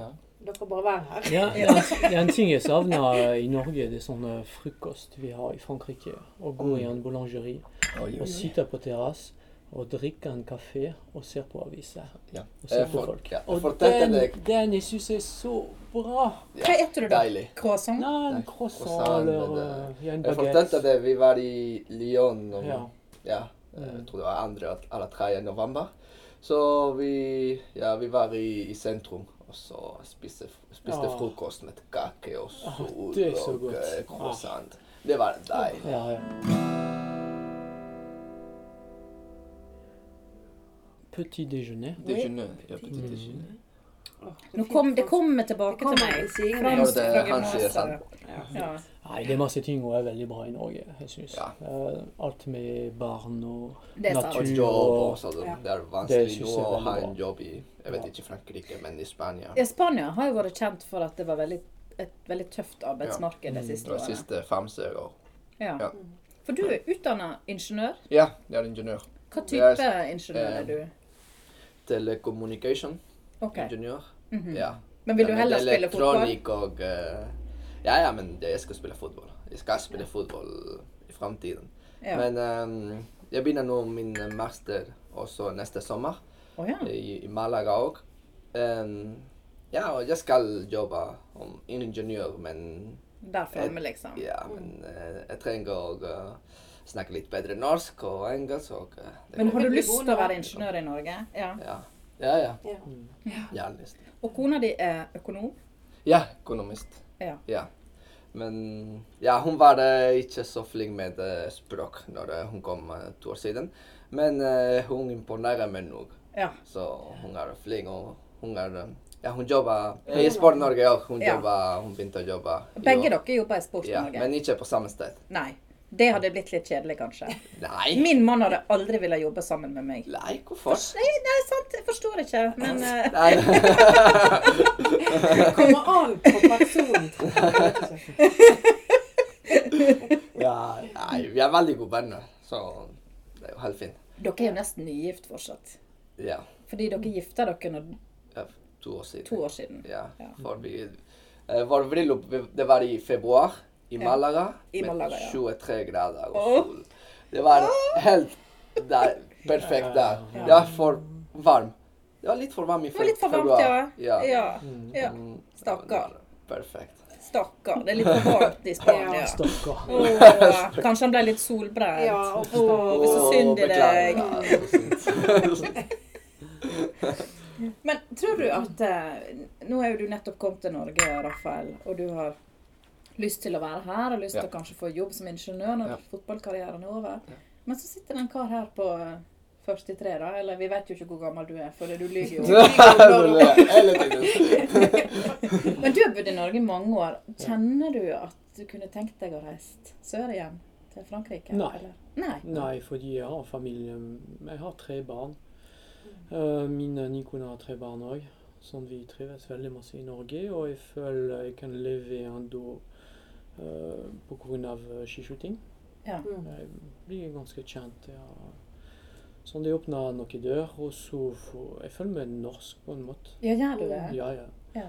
Speaker 3: dere bare være her.
Speaker 5: Ja, det er- det er en ting jeg savner eh, i Norge, det er sånn eh, frokost vi har i Frankrike. Å gå i
Speaker 4: Mm.
Speaker 5: en boulangerie og
Speaker 4: Oi,
Speaker 5: sitte på terrasse og drikke en kafé og se på aviser.
Speaker 4: Ja.
Speaker 5: Og se
Speaker 4: Jeg
Speaker 5: på
Speaker 4: for-
Speaker 5: folk.
Speaker 4: ja, jeg
Speaker 5: Og
Speaker 4: fortalte
Speaker 5: den,
Speaker 4: deg-
Speaker 5: den jeg syns er så bra.
Speaker 2: Hva spiser du da?
Speaker 4: Deilig.
Speaker 2: Croissant?
Speaker 5: Nei,
Speaker 4: Nei,
Speaker 5: en croissant
Speaker 4: croissant,
Speaker 5: eller
Speaker 4: men,
Speaker 5: eh, ja, en
Speaker 4: Jeg fortalte
Speaker 5: baguette.
Speaker 4: det, vi var i Lyon om,
Speaker 5: Ja.
Speaker 4: ja, jeg
Speaker 5: Mm.
Speaker 4: tror det var 2. eller 3. november. Så vi, ja, vi var i, i sentrum, og så spiste, spiste
Speaker 5: Ah.
Speaker 4: frokost med kake og sol
Speaker 5: det er så
Speaker 4: og
Speaker 5: godt. Ah.
Speaker 4: eh, croissant. Det var deilig.
Speaker 5: Ja, ja. Petit déjeuner.
Speaker 4: Déjeuner. Ja, petit
Speaker 5: Mm.
Speaker 4: déjeuner.
Speaker 2: Nå kom, det kommer tilbake
Speaker 3: Det kommer
Speaker 2: til
Speaker 3: jeg sier
Speaker 2: meg.
Speaker 3: meg.
Speaker 4: Ja, det er- han
Speaker 2: Fransk
Speaker 4: sier
Speaker 2: fra
Speaker 4: sant.
Speaker 2: gymnaset. Ja.
Speaker 5: Nei, det er masse ting som er veldig bra i Norge, jeg syns.
Speaker 4: Ja.
Speaker 5: Euh, alt med barn og
Speaker 2: Det er sant.
Speaker 4: Og
Speaker 5: Natur
Speaker 4: jobb
Speaker 5: og-
Speaker 4: også. Det
Speaker 3: Ja.
Speaker 4: det er
Speaker 5: Det
Speaker 4: vanskelig nå
Speaker 5: synes jeg er
Speaker 4: å
Speaker 5: veldig
Speaker 4: ha
Speaker 5: bra.
Speaker 4: en jobb i jeg vet ikke Frankrike, men i Spania.
Speaker 2: Ja, Spania har jo vært kjent for at det var veldig, et veldig tøft arbeidsmarked de siste
Speaker 4: De
Speaker 2: årene.
Speaker 4: siste fem-seks år.
Speaker 2: Ja.
Speaker 4: Mm, ja.
Speaker 2: For du er utdanna ingeniør.
Speaker 4: Ja, jeg er ingeniør.
Speaker 2: Hva
Speaker 4: Jeg eh,
Speaker 2: type ingeniør er du?
Speaker 4: Telecommunication
Speaker 2: Ok.
Speaker 4: ingeniør.
Speaker 2: Mhm.
Speaker 4: Ja.
Speaker 2: Men vil du
Speaker 4: Ja, men
Speaker 2: heller
Speaker 4: det er
Speaker 2: spille fotball?
Speaker 4: Elektronikk og eh, Ja, ja, men det- jeg skal spille fotball. Jeg skal spille fotball i framtiden.
Speaker 2: Ja.
Speaker 4: Men ehm, jeg begynner nå min master også neste sommer,
Speaker 2: Å ja.
Speaker 4: i, i Malaga òg. ja, og jeg skal jobbe som ingeniør, men
Speaker 2: Der framme, liksom.
Speaker 4: ja, men eh, jeg trenger å eh, snakke litt bedre norsk og engelsk og eh, det
Speaker 2: Men
Speaker 4: kommer.
Speaker 2: har du
Speaker 3: bli
Speaker 2: lyst
Speaker 3: god
Speaker 2: til å
Speaker 3: nå.
Speaker 2: være ingeniør i Norge? Ja.
Speaker 4: Ja, ja. ja.
Speaker 3: Ja.
Speaker 4: Gjerne lyst.
Speaker 2: Og kona di er økonom?
Speaker 4: Ja, økonomist.
Speaker 2: Ja.
Speaker 4: Men ja, hun var eh, ikke så flink med eh, språk når eh, hun kom eh, to år siden. Men eh, hun imponerer meg nok.
Speaker 2: Ja.
Speaker 4: Så hun er flink, og hun er eh, Ja, hun jobber i Sport Norge òg. Hun,
Speaker 2: Ja.
Speaker 4: jobber- hun begynte å jobbe. i
Speaker 2: Begge
Speaker 4: år.
Speaker 2: dere jobber i Sport
Speaker 4: Ja,
Speaker 2: Norge?
Speaker 4: men ikke på samme sted.
Speaker 2: Nei. Det hadde blitt litt kjedelig, *laughs* kanskje.
Speaker 4: Nei.
Speaker 2: Min mann hadde aldri villet jobbe sammen med meg.
Speaker 4: Nei, hvorfor?
Speaker 2: Nei, nei, sant, jeg forstår ikke, *laughs* men eh,
Speaker 4: Nei. *laughs*
Speaker 3: Det kommer an på personen.
Speaker 4: Ja, nei, vi er veldig gode venner, så det er jo helt fint.
Speaker 2: dere er jo nesten nygift fortsatt.
Speaker 4: Ja,
Speaker 2: Fordi dere gifta dere når,
Speaker 4: ja, to år siden.
Speaker 2: to år siden.
Speaker 4: Ja,
Speaker 2: Ja.
Speaker 4: for vi, eh, vår bryllup, vi- det var i februar i Malaga.
Speaker 2: I Malaga, ja.
Speaker 4: Med 23 grader
Speaker 2: Åh.
Speaker 4: og sol. Det var helt der, perfekt der. Det var for varm. Det var litt for varm i
Speaker 2: Det var litt for varmt,
Speaker 4: februar.
Speaker 2: ja. Ja. ja.
Speaker 4: Mm,
Speaker 2: Stakkar.
Speaker 4: det var Perfekt.
Speaker 2: Stakkar. Det er litt *laughs* for varmt i Spania.
Speaker 3: Ja.
Speaker 5: Stakkar.
Speaker 2: Åh, *laughs* kanskje han ble litt solbrent.
Speaker 3: Ja, og på
Speaker 2: Åh, så synd i
Speaker 4: Åh,
Speaker 2: deg.
Speaker 4: beklager. Ja, det var synd. *laughs*
Speaker 2: Men tror du at eh, Nå er jo du nettopp kommet til Norge, Rafael, og du har lyst til å være her og lyst til
Speaker 4: Ja.
Speaker 2: å kanskje få jobb som ingeniør når
Speaker 4: Ja.
Speaker 2: fotballkarrieren er over.
Speaker 4: Ja.
Speaker 2: Men så sitter det en kar her på eh, 43, da. Eller vi vet jo ikke hvor gammel du er, for du lyver
Speaker 4: *laughs*
Speaker 2: jo. *laughs*
Speaker 4: Hele tiden.
Speaker 2: Men du har bodd i Norge i mange år. Kjenner du at du kunne tenkt deg å reise sør igjen? Til Frankrike?
Speaker 5: Nei.
Speaker 2: Eller? Nei.
Speaker 5: Nei, fordi jeg har familie Jeg har tre barn. Eh, Min Nikon har tre barn òg. Sånn vi trives veldig masse i Norge. Og jeg føler jeg kan leve ennå eh, på grunn av eh, skiskyting.
Speaker 2: Ja.
Speaker 3: Mm.
Speaker 5: Jeg blir ganske kjent. Ja. Sånn det åpner noen dør, og så får Jeg føler meg norsk på en måte.
Speaker 2: Ja, gjør du det?
Speaker 5: Ja, ja.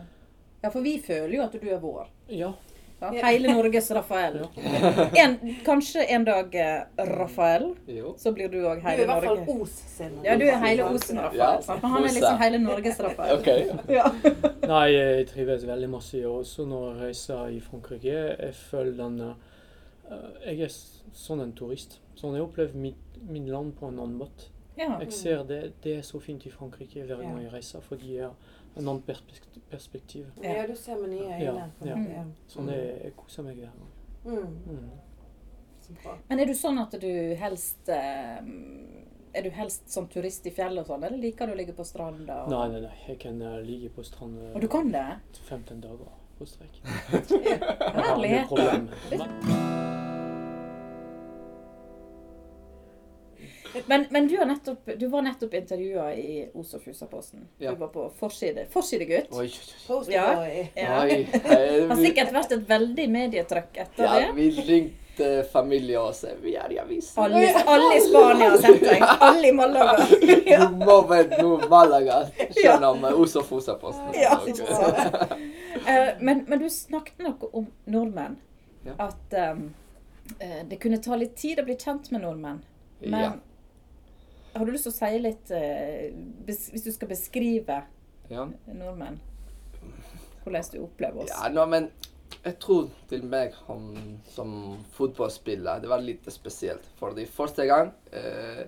Speaker 2: Ja, for vi føler jo at du er vår.
Speaker 5: Ja,
Speaker 2: Sant? Hele Norges Rafael.
Speaker 4: *laughs*
Speaker 2: En, kanskje en dag eh, Rafael,
Speaker 4: Jo.
Speaker 2: så blir du òg
Speaker 3: Du er i
Speaker 2: hele
Speaker 3: hvert fall
Speaker 2: Norge.
Speaker 3: Os sin.
Speaker 2: Ja, du er hele Osen Rafael.
Speaker 4: Ja.
Speaker 2: sant? For han er liksom hele Norges Rafael.
Speaker 4: Ok.
Speaker 2: Ja.
Speaker 5: Nei, jeg trives veldig masse i år. Også når jeg reiser i Frankrike, jeg føler den eh, Jeg er s- sånn en turist. Sånn jeg opplever mitt, min land på en annen måte.
Speaker 2: Ja.
Speaker 5: Jeg ser det, det er så fint i Frankrike hver gang jeg reiser, fordi jeg har en annen perspekt- perspektiv.
Speaker 3: Ja, du ser med nye øyne.
Speaker 5: Ja, ja.
Speaker 3: Ja.
Speaker 2: Mm.
Speaker 5: Sånn jeg, jeg koser meg hver gang.
Speaker 3: Mm.
Speaker 5: Mm.
Speaker 3: Så bra.
Speaker 2: Men er du sånn at du helst eh, Er du helst som turist i fjellet og sånn, eller liker du å ligge på stranda? Og,
Speaker 5: Nei, nei, nei. Jeg kan eh, ligge på stranda
Speaker 2: og du kan det?
Speaker 5: 15 dager på
Speaker 2: *laughs*
Speaker 5: strekk.
Speaker 2: Herlig. Men, men du, har nettopp, du var nettopp intervjua i Os- og Fusaposten.
Speaker 4: Ja.
Speaker 2: Du var på forside. Forsidegutt.
Speaker 4: Oi, oi,
Speaker 3: Poster
Speaker 2: Ja.
Speaker 3: boy.
Speaker 4: oi.
Speaker 2: Ja.
Speaker 4: oi.
Speaker 2: Det har sikkert vært et veldig medietrykk etter
Speaker 4: Ja,
Speaker 2: det.
Speaker 4: vi ringte familie og sa vi er i avisen.
Speaker 2: Alle, alle i Spania har sett deg. Alle i Malaga.
Speaker 4: Du må vel nå Malaga skjønne om Os- og Fosa-posten.
Speaker 3: *laughs*
Speaker 2: Ja, ikke sant. Eh, men, men du snakket noe om nordmenn.
Speaker 4: Ja.
Speaker 2: At ehm, eh, det kunne ta litt tid å bli kjent med nordmenn. Men
Speaker 4: Ja.
Speaker 2: har du lyst til å si litt eh, bes Hvis du skal beskrive
Speaker 4: Ja.
Speaker 2: nordmenn, hvordan du opplever oss?
Speaker 4: Ja, nå, men jeg tror til meg om, som fotballspiller, det var litt spesielt. For de første gang eh,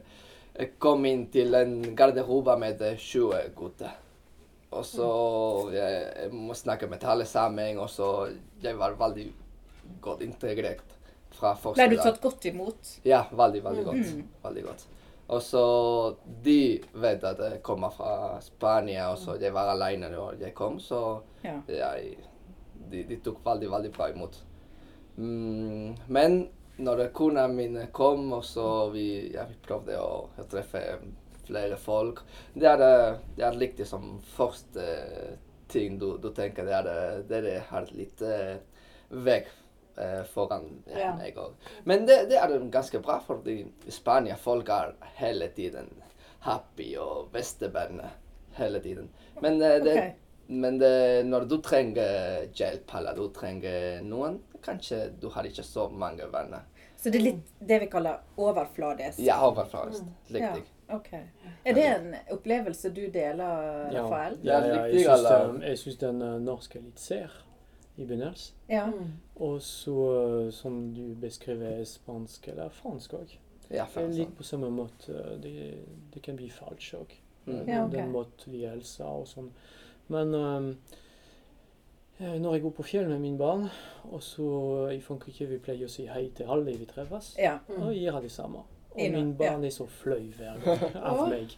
Speaker 4: jeg kom inn til en garderobe med eh, 20 gutter. Og så jeg, jeg må snakke med alle sammen, og så jeg var veldig godt integrert fra første
Speaker 2: Ble
Speaker 4: dag.
Speaker 2: du tatt godt imot?
Speaker 4: Ja, veldig, veldig godt. Veldig godt. Og så de vet at jeg kommer fra Spania, og så jeg var alene da jeg kom, så
Speaker 2: Ja.
Speaker 4: jeg, de, de tok veldig, veldig bra imot. Mm, men når kona min kom, og så vi, ja, vi prøvde å, å treffe flere folk Det er, eh, det er riktig som første eh, ting du, du tenker, det er eh, dere har litt eh, vekk eh, foran ja,
Speaker 3: Ja.
Speaker 4: meg òg. Men det, det er ganske bra, fordi i Spania folk er hele tiden happy og bestevenner. Hele tiden. Men, eh, det,
Speaker 2: Ok.
Speaker 4: men det, når du trenger hjelp, eller du trenger noen, kanskje du har ikke så mange venner.
Speaker 2: Så det er litt det vi kaller overfladisk?
Speaker 4: Ja, overfremst. Riktig.
Speaker 2: Mm. Ja, ok. Er det en opplevelse du deler,
Speaker 5: Ja,
Speaker 2: Rafael?
Speaker 5: ja, ja, jeg
Speaker 4: riktig,
Speaker 5: syns,
Speaker 4: eller?
Speaker 5: eh, jeg syns den eh, norske er litt sær i begynnelsen.
Speaker 2: Ja.
Speaker 3: Mm.
Speaker 5: Og så, eh, som du beskriver, spansk eller fransk òg.
Speaker 4: Ja,
Speaker 5: Det er
Speaker 4: for
Speaker 5: Litt
Speaker 4: sånn.
Speaker 5: på samme måte. Det, det kan bli falsk òg.
Speaker 4: Mm.
Speaker 2: Ja, ok.
Speaker 5: Den måten vi hilser og sånn. Men ehm, eh, når jeg går på fjell med mine barn, og så eh, i Frankrike vi pleier å si hei til alle vi treffes,
Speaker 2: ja.
Speaker 5: og gjør det samme. Og
Speaker 2: Inno-
Speaker 5: mine barn er så flau hver
Speaker 2: *laughs*
Speaker 5: gang av
Speaker 3: Åh.
Speaker 5: meg.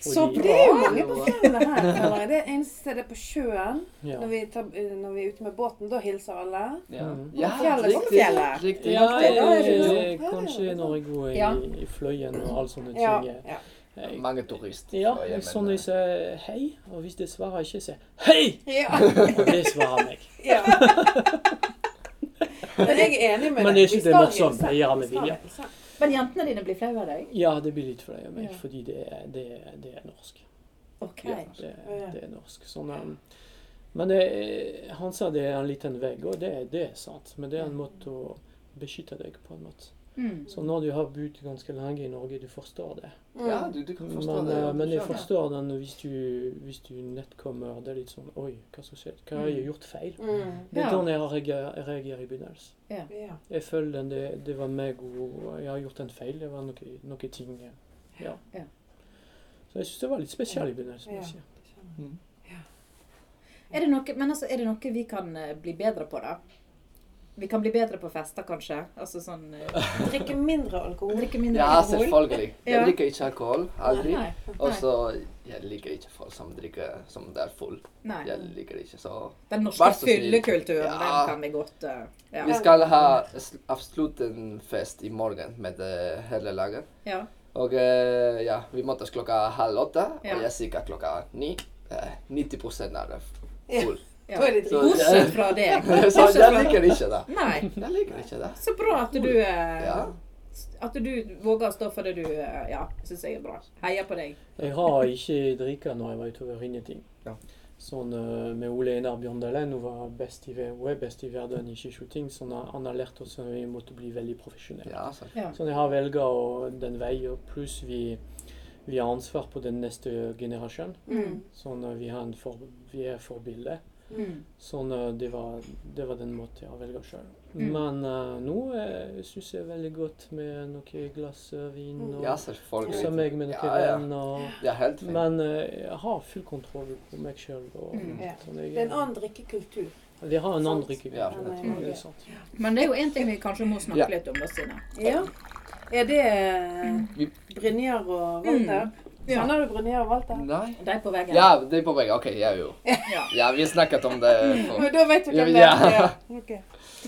Speaker 2: Så
Speaker 5: Fordi-
Speaker 3: Det er jo mange på fjellene her. Eller? Det eneste det er på sjøen.
Speaker 5: Ja.
Speaker 3: Når vi, tar, eh, når vi er ute med båten, da hilser alle.
Speaker 4: Ja,
Speaker 5: Mm.
Speaker 4: ja
Speaker 3: Fjellet,
Speaker 4: riktig.
Speaker 2: fjellet.
Speaker 4: riktig.
Speaker 5: Ja,
Speaker 2: det er
Speaker 5: eh,
Speaker 3: det.
Speaker 5: kanskje når jeg går i,
Speaker 2: Ja.
Speaker 5: i fløyen og alle sånne
Speaker 3: Ja.
Speaker 5: ting. eh,
Speaker 3: ja.
Speaker 5: jeg-
Speaker 4: Mange turister.
Speaker 5: Ja,
Speaker 4: fra Jemen,
Speaker 5: sånn
Speaker 4: eh.
Speaker 5: jeg sier hei, og hvis det svarer ikke, sier jeg hei!
Speaker 3: ja. *laughs*
Speaker 5: Og det svarer meg.
Speaker 3: ja. Men jeg er enig med
Speaker 5: Men det er
Speaker 3: deg. Vi
Speaker 5: ikke det
Speaker 3: skal
Speaker 5: morsomme,
Speaker 3: hilse.
Speaker 5: det gjør alle
Speaker 3: Vi skal
Speaker 5: vilje.
Speaker 3: hilse.
Speaker 2: Men jentene dine blir flaue av deg?
Speaker 5: Ja, det blir litt flau av meg,
Speaker 2: Ja.
Speaker 5: fordi det er, det, er- det er norsk.
Speaker 2: OK.
Speaker 5: Det,
Speaker 3: Ja.
Speaker 5: det er norsk. Sånn, um, men det, er- han sa det er en liten vegg, og det, er- det er sant. Men det er en måte å beskytte deg på en måte.
Speaker 2: Mm.
Speaker 5: Så når du har bodd ganske lenge i Norge, du forstår det.
Speaker 3: Mm.
Speaker 4: Ja,
Speaker 2: Mm.
Speaker 4: du, du kan forstå
Speaker 5: Men,
Speaker 4: det.
Speaker 5: eh, men jeg
Speaker 4: Skjønner.
Speaker 5: forstår den hvis du, hvis du nett kommer, det er litt sånn Oi, hva som skjedde? Hva har jeg gjort feil?
Speaker 3: Mm.
Speaker 5: Det er
Speaker 2: Ja.
Speaker 5: sånn jeg har reager- reagerer i begynnelsen.
Speaker 3: Ja.
Speaker 5: Jeg føler den, det, det var meg og jeg har gjort en feil. Det var noe, noe ting ja. Ja.
Speaker 2: Ja.
Speaker 5: Så jeg syns det var litt spesielt i begynnelsen.
Speaker 3: Ja.
Speaker 5: jeg sier.
Speaker 2: Er det noe, men altså, er det noe vi kan eh, bli bedre på, da? Vi kan bli bedre på fester, kanskje? Altså sånn eh,
Speaker 3: Drikke mindre alkohol.
Speaker 2: Drikke mindre
Speaker 4: Ja,
Speaker 2: alkohol?
Speaker 4: selvfølgelig.
Speaker 2: Mm. Ja.
Speaker 4: Jeg liker ikke alkohol. Aldri.
Speaker 2: Nei.
Speaker 4: Og så jeg liker ikke folk som drikker som det er full.
Speaker 2: Nei.
Speaker 4: Jeg liker ikke så
Speaker 2: Den
Speaker 4: Vær
Speaker 2: norske
Speaker 4: så snill.
Speaker 2: fyllekulturen, den
Speaker 4: Ja.
Speaker 2: kan vi godt eh,
Speaker 4: Vi
Speaker 2: ja.
Speaker 4: skal ha s- absolutt en fest i morgen med eh, hele laget.
Speaker 2: ja.
Speaker 4: Og eh, ja, vi møtes klokka halv åtte,
Speaker 2: Ja.
Speaker 4: og jeg er sikker klokka ni. Eh, 90 er det
Speaker 2: *laughs*
Speaker 4: full. *laughs*
Speaker 2: Ja.
Speaker 3: Da er det drikke.
Speaker 4: Så-
Speaker 2: Bortsett fra
Speaker 4: *laughs*
Speaker 2: det.
Speaker 4: så
Speaker 2: Bortsett
Speaker 4: jeg
Speaker 2: fra det.
Speaker 4: liker ikke det.
Speaker 2: Nei.
Speaker 4: Jeg liker ikke det.
Speaker 2: Så bra at du eh,
Speaker 4: Ja.
Speaker 2: At du våger å stå for det du eh, Ja, syns jeg er bra. Heier på deg.
Speaker 5: Jeg har ikke drikka når jeg var utover ingenting.
Speaker 4: Ja.
Speaker 5: Sånn eh, med Ole Einar Bjørndalen, hun var best i, ver- hun er best i verden i skishooting, så han har- han har lært oss at vi måtte bli veldig profesjonelle.
Speaker 4: Ja, altså. så.
Speaker 5: Så jeg har velget å- den veien, pluss vi, vi har ansvar på den neste generasjon.
Speaker 2: Mm.
Speaker 5: Sånn eh, vi, har en for, vi er forbilde.
Speaker 2: Mm.
Speaker 5: Sånn, eh, det, var, det var den måten jeg velger selv.
Speaker 2: Mm.
Speaker 5: Men eh, nå eh, synes jeg veldig godt med noe glass eh, vin og
Speaker 4: ja, selvfølgelig.
Speaker 5: kose meg med noen
Speaker 4: Ja, ja.
Speaker 5: venner.
Speaker 4: Det er helt fint.
Speaker 5: Men eh, jeg har full kontroll på meg selv. Og,
Speaker 2: Mm.
Speaker 3: Ja.
Speaker 5: sånn, jeg,
Speaker 3: Det er en annen drikkekultur. eh,
Speaker 5: Vi har en annen rykke.
Speaker 4: Ja,
Speaker 3: Eller-
Speaker 5: Det er sant.
Speaker 2: Men det er jo en ting vi kanskje må snakke
Speaker 4: Ja.
Speaker 2: litt om, da, Stine.
Speaker 3: Ja. Er det eh,
Speaker 4: Vi-
Speaker 3: Brynjar og Walter?
Speaker 2: Ja.
Speaker 3: Kjenner du Brynjar og Walter?
Speaker 4: Nei?
Speaker 2: De er på veggen.
Speaker 4: Ja, det är på väg. Okej, ja, jo. Ja, vi har snackat om det.
Speaker 3: Men
Speaker 4: På...
Speaker 3: da vet du
Speaker 4: Ja,
Speaker 3: hvem det
Speaker 4: ja.
Speaker 3: er. Ja. Ok.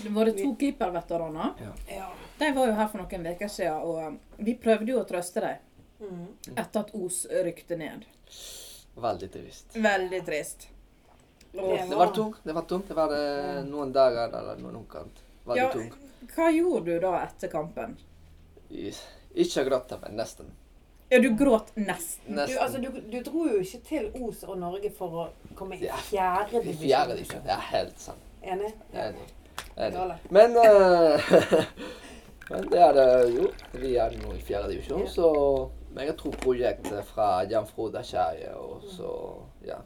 Speaker 2: Det var det to keeperveteraner.
Speaker 3: Ja.
Speaker 2: De var jo her for noen uker siden, og um, vi prøvde jo å trøste dem
Speaker 3: Mm.
Speaker 2: etter at Os rykte ned.
Speaker 4: Väldigt trist.
Speaker 2: Veldig trist.
Speaker 4: Det var tungt, det var tungt. Det var eh, noen dager eller noen uker. Veldig
Speaker 2: Ja,
Speaker 4: tungt.
Speaker 2: hva gjorde du da etter kampen?
Speaker 4: Yes. Ikke gråte, men nesten.
Speaker 2: Ja, du gråt nesten.
Speaker 3: Du, altså,
Speaker 4: Nesten.
Speaker 3: du, du dro jo ikke til Os og Norge for å komme i
Speaker 4: Ja.
Speaker 3: fjerde
Speaker 4: I
Speaker 3: divisjon.
Speaker 4: fjerde divisjon. Det er helt sant.
Speaker 3: Enig?
Speaker 4: Enig. Enig.
Speaker 3: Gale.
Speaker 4: Men, eh, *laughs* men det er det jo. Vi er nå i fjerde divisjon,
Speaker 3: Ja.
Speaker 4: så Men jeg tror prosjektet fra Jan Frode Skjære og så Ja.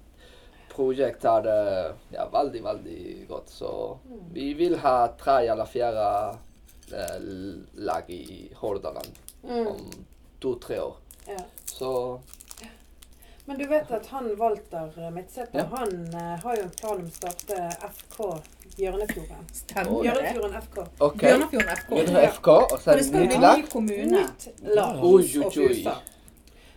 Speaker 4: Prosjektet er det ja, veldig, veldig godt, så
Speaker 3: Mm.
Speaker 4: vi vil ha tre eller fire eh, lag i Hordaland
Speaker 3: Mm.
Speaker 4: om to-tre år.
Speaker 3: Ja.
Speaker 4: Så
Speaker 3: Men du vet at han Walter Midtsæter,
Speaker 4: Ja.
Speaker 3: han eh, har jo en plan om å starte FK Hjørnefjorden.
Speaker 2: Stemmer det?
Speaker 3: Hjørnefjorden FK.
Speaker 4: OK.
Speaker 2: Bjørnafjorden FK.
Speaker 4: Gjør det FK, og
Speaker 2: For det
Speaker 4: så er det
Speaker 2: skal
Speaker 4: nytt
Speaker 2: bli
Speaker 4: lag.
Speaker 2: ny kommune.
Speaker 3: Nytt lag.
Speaker 4: Oi, oi,
Speaker 2: Og
Speaker 4: oi.
Speaker 2: Fusa.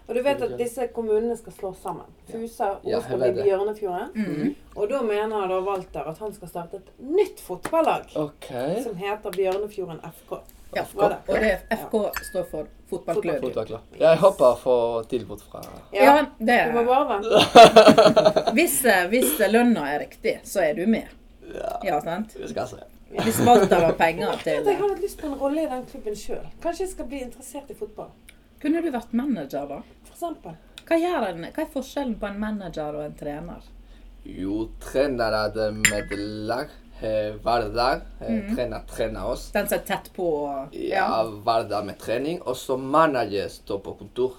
Speaker 3: Og du vet at disse kommunene skal slås sammen. Fusa og
Speaker 4: Ja,
Speaker 3: ja,
Speaker 4: jeg
Speaker 3: skal
Speaker 4: vet
Speaker 3: bli
Speaker 4: det.
Speaker 3: Bjørnefjorden.
Speaker 2: Mm.
Speaker 4: Mhm.
Speaker 3: Og da mener da Walter at han skal starte et nytt fotballag
Speaker 4: OK.
Speaker 3: som heter Bjørnefjorden FK.
Speaker 2: Ja,
Speaker 3: Var det?
Speaker 2: og det FK står for fotballklubb.
Speaker 4: Fotballklubb. Jeg håper å få tilbud fra
Speaker 2: Ja,
Speaker 3: Ja.
Speaker 2: det
Speaker 3: Du må bare vente.
Speaker 2: Hvis, eh, hvis lønna er riktig, så er du med.
Speaker 4: Ja,
Speaker 2: Ja, sant?
Speaker 4: vi skal se.
Speaker 2: Hvis Walter har penger
Speaker 3: At
Speaker 2: til
Speaker 3: jeg har litt lyst på en rolle i den klubben sjøl. Kanskje jeg skal bli interessert i fotball.
Speaker 2: Kunne du vært manager, da?
Speaker 3: For eksempel.
Speaker 2: Hva, gjør en, hva er forskjellen på en manager og en trener?
Speaker 4: Jo, trener er det med lag eh, hver dag. Eh, Trener trener oss.
Speaker 2: Den som er tett på og
Speaker 4: Ja, hver dag med trening. Og så manager står på kontor.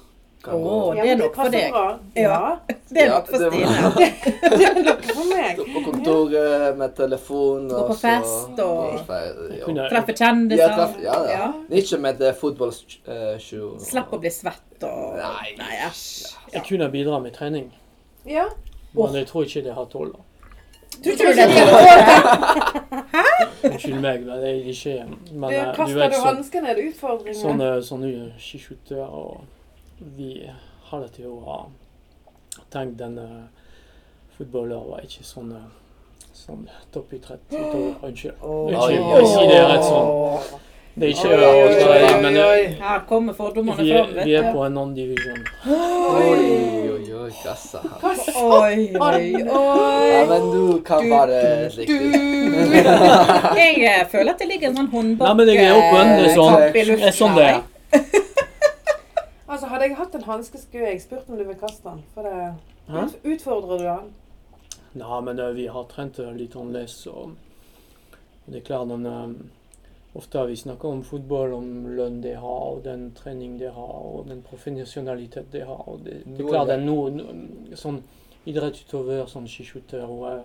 Speaker 4: Kan
Speaker 2: Åh,
Speaker 4: gå-
Speaker 2: det er nok for deg.
Speaker 3: Ja.
Speaker 2: Det er
Speaker 4: Ja,
Speaker 2: nok for
Speaker 4: det var-
Speaker 2: Stine.
Speaker 3: For meg.
Speaker 4: På kontoret med telefon
Speaker 2: Gå på
Speaker 4: og så
Speaker 2: fest og-
Speaker 4: Ja, fe-
Speaker 5: Kunne
Speaker 4: ja.
Speaker 5: jeg-
Speaker 2: Treffe
Speaker 4: Ja,
Speaker 2: kjendiser.
Speaker 4: treff, ja, ja. Ikke med eh, fotball eh, sju-
Speaker 2: Slipp å bli svett og
Speaker 4: Nei.
Speaker 2: æsj.
Speaker 5: Jeg kunne bidra med trening,
Speaker 3: Ja.
Speaker 5: men jeg tror ikke det har tål. da.
Speaker 2: Tror ikke du det er det?
Speaker 5: Unnskyld meg, men det er ikke Men
Speaker 3: Det
Speaker 5: eh, du
Speaker 3: kaster
Speaker 5: vet
Speaker 3: du
Speaker 5: sånn,
Speaker 3: hanskene, er det utfordringer?
Speaker 4: Sånn,
Speaker 5: sånne, sånne skiskytter og Vi har det til å ha tenkt denne fotballer var ikke sånn eh, sånn toppidrett. utover- Unnskyld. Unnskyld,
Speaker 4: Oi, oi,
Speaker 5: jeg sier det rett
Speaker 2: Oh.
Speaker 5: sånn. Det er ikke
Speaker 3: Oi, oi,
Speaker 5: å
Speaker 3: oi,
Speaker 5: si, men eh,
Speaker 2: Her kommer fordommene
Speaker 5: vi,
Speaker 2: fram,
Speaker 5: er- vi er
Speaker 2: vet du.
Speaker 5: på en annen divisjon.
Speaker 4: Oi, oi, oi, kassa.
Speaker 2: Oi, oi,
Speaker 4: Ja,
Speaker 2: oi.
Speaker 4: men du kan bare riktig.
Speaker 2: Jeg eh, føler at det ligger en sånn håndbak eh,
Speaker 5: Nei, men jeg er åpen. Det er sånn. Det er sånn det er.
Speaker 4: eh.
Speaker 3: Altså, hadde jeg hatt en hanske, skulle jeg spurt om du vil kaste den. For det
Speaker 5: Hæ?
Speaker 3: Ut- Utfordrer du han?
Speaker 5: Nei, men eh, vi har trent eh, litt annerledes, så det er klart den, eh, Ofte vi snakker om fotball, om lønn de har, og den trening de har, og den profesjonalitet de har. og Det, det er
Speaker 4: Noe
Speaker 5: klart det
Speaker 4: der.
Speaker 5: er noen eh, sånn idrettsutøver, sånn skiskytter, hun er,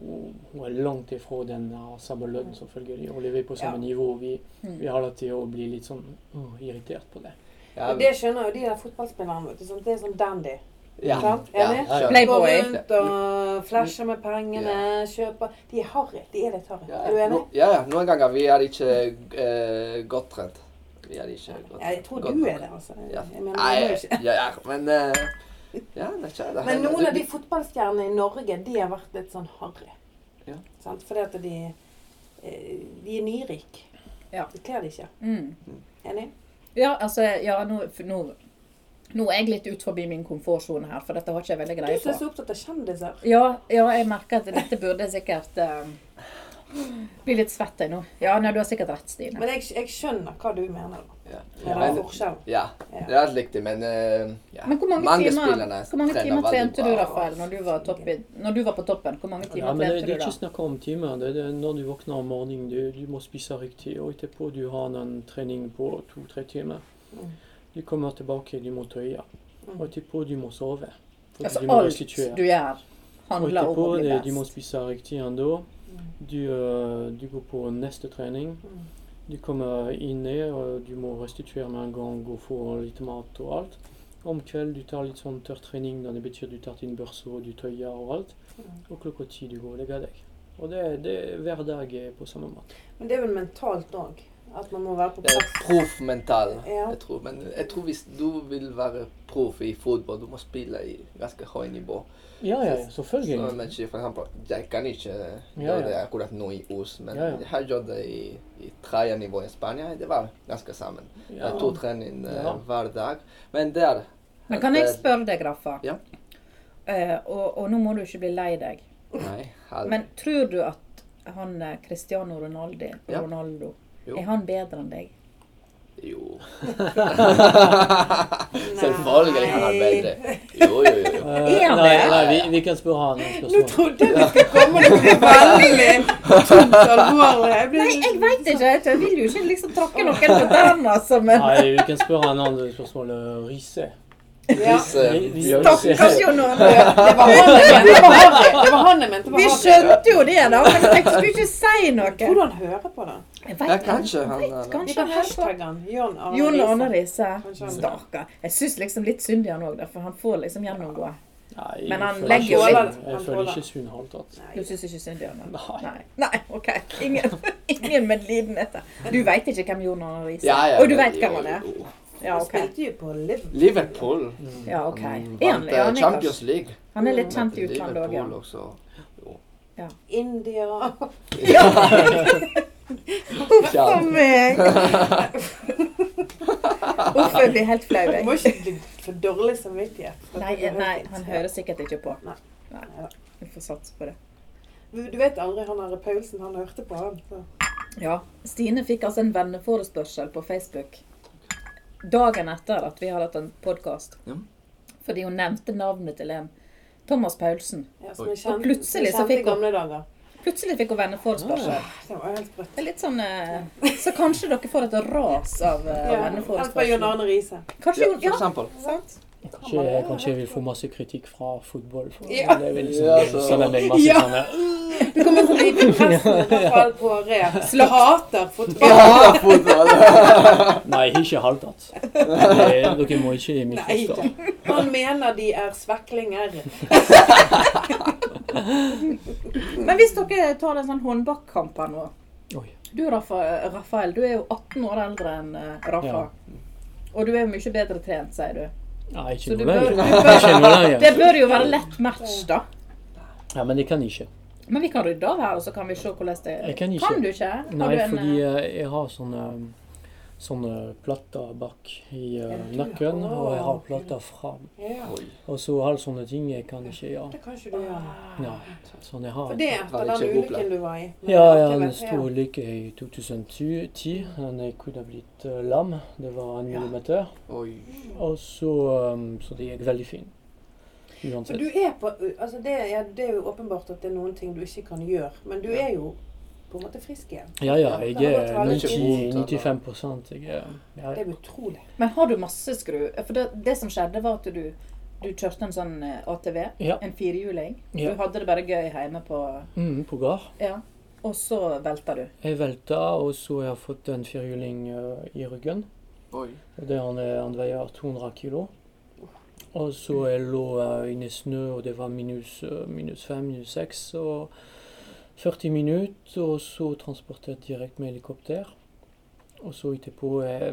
Speaker 5: hun- hun er langt ifra den har samme lønn, selvfølgelig, og lever på samme nivå. Vi, vi har lov til å bli litt sånn uh, irritert på det.
Speaker 4: Ja,
Speaker 3: Det skjønner jo de der fotballspillerne. vet du, sant? Det er sånn dandy.
Speaker 4: ja.
Speaker 3: Sant?
Speaker 4: ja,
Speaker 3: Enig?
Speaker 4: ja, ja.
Speaker 2: Playboy.
Speaker 3: Går rundt og flasher med pengene, kjøper De er harry. De er litt harry.
Speaker 4: Ja,
Speaker 3: Er du enig?
Speaker 4: no- ja, ja. Noen ganger vi er ikke eh, godt trent. Vi er ikke godt
Speaker 3: Ja, jeg tror
Speaker 4: godt
Speaker 3: du
Speaker 4: nok.
Speaker 3: er det, altså.
Speaker 4: Ja.
Speaker 3: Jeg mener,
Speaker 4: Nei,
Speaker 3: jeg er jo ikke.
Speaker 4: jeg ja, ja, men eh, Ja, det er det.
Speaker 3: Men noen av de fotballstjernene i Norge, de har vært litt sånn harry.
Speaker 4: Ja.
Speaker 3: Sant? Fordi at de eh, De er nyrike.
Speaker 2: Ja.
Speaker 3: Det kler de ikke.
Speaker 2: Mm.
Speaker 3: Enig?
Speaker 2: Ja, altså, ja, nå, for nå, nå er jeg litt ut forbi min komfortsone her, for dette har ikke jeg veldig
Speaker 3: Du
Speaker 2: greie
Speaker 3: som er
Speaker 2: på.
Speaker 3: så opptatt av kjendiser.
Speaker 2: Ja, ja, jeg merker at dette burde jeg sikkert eh, bli litt svett jeg nå. Ja, nei, du har sikkert rett, Stine.
Speaker 3: Men jeg, jeg skjønner hva du mener. da.
Speaker 4: Ja.
Speaker 3: Med
Speaker 4: Men-
Speaker 3: den forskjellen.
Speaker 4: Ja, det er riktig, men eh, ja.
Speaker 2: Men hvor mange, timer,
Speaker 4: spillerne
Speaker 2: hvor mange
Speaker 4: trener
Speaker 2: timer
Speaker 4: veldig
Speaker 2: trente du,
Speaker 4: bra.
Speaker 2: Rafael, når du var, topp i, når du var på toppen? Hvor mange timer
Speaker 5: Ja, men det,
Speaker 2: trente
Speaker 5: det er
Speaker 2: du da?
Speaker 5: ikke snakk om timer. Det er det, når du våkner om morgenen, du, du må spise riktig. Og etterpå du har en trening på to-tre timer.
Speaker 3: Mm.
Speaker 5: Du kommer tilbake, du må tøye.
Speaker 3: Mm.
Speaker 5: Og etterpå du må sove. Fordi
Speaker 2: Altså,
Speaker 5: du må restituere.
Speaker 2: alt du gjør,
Speaker 5: Og
Speaker 2: handler om
Speaker 5: etterpå
Speaker 2: å bli
Speaker 5: det, du må
Speaker 2: best.
Speaker 5: spise riktig ennå. Du, eh, du går på neste trening.
Speaker 3: Mm.
Speaker 5: Du kommer inn ned, og euh, du må restituere med en gang og få litt mat og alt. Om kvelden du tar litt sånn tørrtrening. da Det betyr du tar din børse og du tøyer og alt. Og klokka ti du går og legger deg.
Speaker 7: Og det, det hver dag
Speaker 5: eh,
Speaker 7: er på samme måte.
Speaker 3: Men det er vel mentalt òg? At man må være på
Speaker 4: Det er
Speaker 3: plass?
Speaker 4: proff mental.
Speaker 3: Ja.
Speaker 4: Jeg tror. Men jeg tror hvis du vil være proff i fotball, du må spille i ganske høyt nivå.
Speaker 7: Ja, ja, ja,
Speaker 4: Så
Speaker 7: selvfølgelig.
Speaker 4: mennesker, for eksempel, jeg kan ikke
Speaker 7: Ja,
Speaker 4: gjøre
Speaker 7: ja.
Speaker 4: det akkurat nå i Os, men
Speaker 7: Ja, ja.
Speaker 4: jeg har gjort det i, i tredje nivå i Spania. Det var ganske sammen.
Speaker 7: Ja.
Speaker 4: To treninger eh,
Speaker 7: Ja.
Speaker 4: hver dag. Men der
Speaker 2: Men kan jeg spørre deg, Raffa?
Speaker 4: Ja.
Speaker 2: Eh, og, og nå må du ikke bli lei deg.
Speaker 4: Nei. Halv.
Speaker 2: Men tror du at han eh, Cristiano Ronaldi,
Speaker 4: Ja.
Speaker 2: Ronaldo,
Speaker 4: Jo.
Speaker 2: er han bedre
Speaker 4: *laughs*
Speaker 2: enn deg? *laughs*
Speaker 4: Jo. Selvfølgelig han er bedre. Jo, jo, jo.
Speaker 5: Euh,
Speaker 4: jo.
Speaker 7: Eh,
Speaker 2: han
Speaker 7: nei,
Speaker 2: det?
Speaker 7: nei vi, vi kan spørre han om
Speaker 3: Nå
Speaker 7: spørsmål.
Speaker 3: trodde jeg vi skulle komme til det veldig tungt alvorlig. Jeg ble
Speaker 2: Jeg veit ikke! Jeg vil jo ikke liksom tråkke noen på tærne, altså, men
Speaker 5: Ah,
Speaker 7: Nei, vi kan spørre han om spørsmål eh, Riise.
Speaker 3: ja.
Speaker 4: Hvis, eh,
Speaker 7: Vi- vi-
Speaker 4: Bjørn
Speaker 7: Takk,
Speaker 4: sier-
Speaker 2: Kanskje jo noen
Speaker 3: Det var han jeg mente. Det var han- Det var han jeg mente. Det var
Speaker 2: Vi
Speaker 3: han.
Speaker 2: skjønte jo det, da, men jeg skulle ikke si
Speaker 3: Tror du
Speaker 2: noe.
Speaker 3: han hører på det?
Speaker 2: Jeg
Speaker 4: Ja,
Speaker 2: vet ikke.
Speaker 4: kanskje han er
Speaker 3: Vi
Speaker 2: Kanskje han hører
Speaker 3: kan
Speaker 2: på.
Speaker 3: hashtagge han. Jon Arne
Speaker 2: Jon
Speaker 3: Riise.
Speaker 2: Arne Riise.
Speaker 3: Kanskje han-
Speaker 2: Stakkar. Jeg syns liksom litt synd i han òg, for han får liksom gjennomgå.
Speaker 7: Nei, jeg
Speaker 2: Men han
Speaker 7: føler
Speaker 2: legger
Speaker 7: ikke
Speaker 3: jo
Speaker 7: synd-
Speaker 3: litt-
Speaker 7: Jeg
Speaker 3: han
Speaker 7: føler
Speaker 3: tåler.
Speaker 7: ikke synd i det hele tatt.
Speaker 2: Du syns ikke synd i han? da?
Speaker 7: Nei.
Speaker 2: Nei. Nei, OK. Ingen, *laughs* ingen medlidenhet. her. Du veit ikke hvem Jon Arne Riise er?
Speaker 4: Ja, ja,
Speaker 2: Og du
Speaker 4: men
Speaker 2: veit
Speaker 4: jo,
Speaker 2: hvem han er?
Speaker 4: jo.
Speaker 2: Ja,
Speaker 3: Han
Speaker 2: OK.
Speaker 3: spilte jo på Liverpool.
Speaker 4: Liverpool
Speaker 2: Ja, ok.
Speaker 4: Han
Speaker 2: Er han,
Speaker 4: vant
Speaker 2: ja,
Speaker 4: eh,
Speaker 2: han, er
Speaker 4: Champions
Speaker 2: kanskje-
Speaker 4: League.
Speaker 2: han er litt kjent i
Speaker 4: Mot
Speaker 2: utlandet òg, ja.
Speaker 4: Liverpool også.
Speaker 3: India *laughs*
Speaker 4: Ja.
Speaker 2: For
Speaker 4: *laughs*
Speaker 2: meg! Uff, jeg blir helt flau,
Speaker 3: Du må
Speaker 2: jeg.
Speaker 3: ikke bli for dårlig samvittighet. for at
Speaker 2: Nei,
Speaker 3: du har hørt
Speaker 2: nei,
Speaker 3: det.
Speaker 2: han hører sikkert ikke på.
Speaker 3: Nei.
Speaker 2: Nei. Vi får satse på det.
Speaker 3: Du vet aldri han der Paulsen, han hørte på han. Så.
Speaker 2: Ja. Stine fikk altså en venneforespørsel på Facebook dagen etter at vi hadde hatt en podkast.
Speaker 4: Ja.
Speaker 2: Fordi hun nevnte navnet til en. Thomas Paulsen.
Speaker 3: Ja,
Speaker 4: Oi.
Speaker 3: som jeg kjente,
Speaker 2: Og plutselig så
Speaker 3: som jeg kjente
Speaker 2: fikk
Speaker 3: i gamle dager.
Speaker 2: Plutselig fikk hun venneforespørsel.
Speaker 4: Ah.
Speaker 3: Det var jo helt sprøtt.
Speaker 2: Det er litt sånn eh, Så kanskje dere får et ras av eh,
Speaker 3: Ja, Helt fra John
Speaker 2: venneforespørsel.
Speaker 3: Arne Riise.
Speaker 2: Kanskje
Speaker 4: Ja,
Speaker 2: hun
Speaker 4: for
Speaker 2: Ja, *laughs*
Speaker 4: eksempel.
Speaker 2: sant?
Speaker 5: Kanskje, kanskje jeg vil få masse kritikk fra fotball. For
Speaker 3: Ja.
Speaker 5: det er veldig
Speaker 4: Ja,
Speaker 5: sånn,
Speaker 4: så-
Speaker 5: sender meg masse
Speaker 3: Ja.
Speaker 5: sånne
Speaker 3: Du kommer *laughs* til å rive pressen i hvert fall på re. Du hater fotball.
Speaker 4: Ja, fotball.
Speaker 5: Nei, ikke i det hele tatt. Det- Dere må
Speaker 3: Nei
Speaker 5: ikke misforstå.
Speaker 3: da. Han mener de er sveklinger.
Speaker 2: Men hvis dere tar en sånn håndbakkamp her nå
Speaker 5: Oi.
Speaker 2: Du Rafa- eh, Rafael, du er jo 18 år eldre enn eh, Rafa.
Speaker 5: Ja.
Speaker 2: Og du er jo mye bedre trent, sier du.
Speaker 5: Nei, ikke
Speaker 2: Så du
Speaker 4: *laughs*
Speaker 5: noe
Speaker 2: bør, du
Speaker 5: lenger. Ikke
Speaker 2: bør,
Speaker 5: noe lenger.
Speaker 2: det bør jo være lett match, da.
Speaker 5: Ja, men jeg kan ikke.
Speaker 2: Men vi kan rydde av her, og så kan vi se hvordan det
Speaker 5: Jeg kan ikke.
Speaker 2: du ikke? Har
Speaker 5: Nei,
Speaker 2: du en,
Speaker 5: fordi
Speaker 2: eh,
Speaker 5: eh, jeg har sånne, sånne plater bak i eh, nakken, og jeg har plater fram.
Speaker 3: Ja,
Speaker 4: Oi.
Speaker 5: Og så alle sånne ting jeg kan ikke gjøre.
Speaker 3: det kan ikke du gjøre.
Speaker 5: Ja, sånn jeg
Speaker 3: For
Speaker 5: har.
Speaker 3: det er
Speaker 4: Var
Speaker 3: etter
Speaker 4: det
Speaker 3: den
Speaker 4: ikke god plan?
Speaker 3: ulykken du var i.
Speaker 5: Ja, jeg hadde en
Speaker 3: Ja.
Speaker 5: stor ulykke i 2010, da jeg kunne ha blitt eh, lam. Det var en millimeter.
Speaker 4: Oi.
Speaker 5: Og så, eh, så det gikk veldig fint.
Speaker 3: For du
Speaker 5: Uansett.
Speaker 3: er på altså det, er, det er jo åpenbart at det er noen ting du ikke kan gjøre, men du er jo på en måte frisk igjen.
Speaker 5: Ja, ja, jeg er
Speaker 3: Det er ikke
Speaker 5: 90,
Speaker 4: vondt, eller?
Speaker 5: 95 jeg er, ja,
Speaker 3: Det er jo utrolig.
Speaker 2: Men har du masse skru? For det, det som skjedde, var at du, du kjørte en sånn eh, ATV.
Speaker 5: Ja.
Speaker 2: En firehjuling.
Speaker 5: Ja.
Speaker 2: Du hadde det bare gøy hjemme på
Speaker 5: mm, på gard.
Speaker 2: Ja. Og så velta du.
Speaker 5: Jeg velta, og så har jeg fått en firhjuling eh, i ryggen.
Speaker 4: Oi.
Speaker 5: Og det han, er, han veier 200 kilo. Og så jeg lå eh, inne i snø, og det var minus, eh, minus 5, minus 6. Og 40 minutter, og så transportert direkte med helikopter. Og så etterpå eh,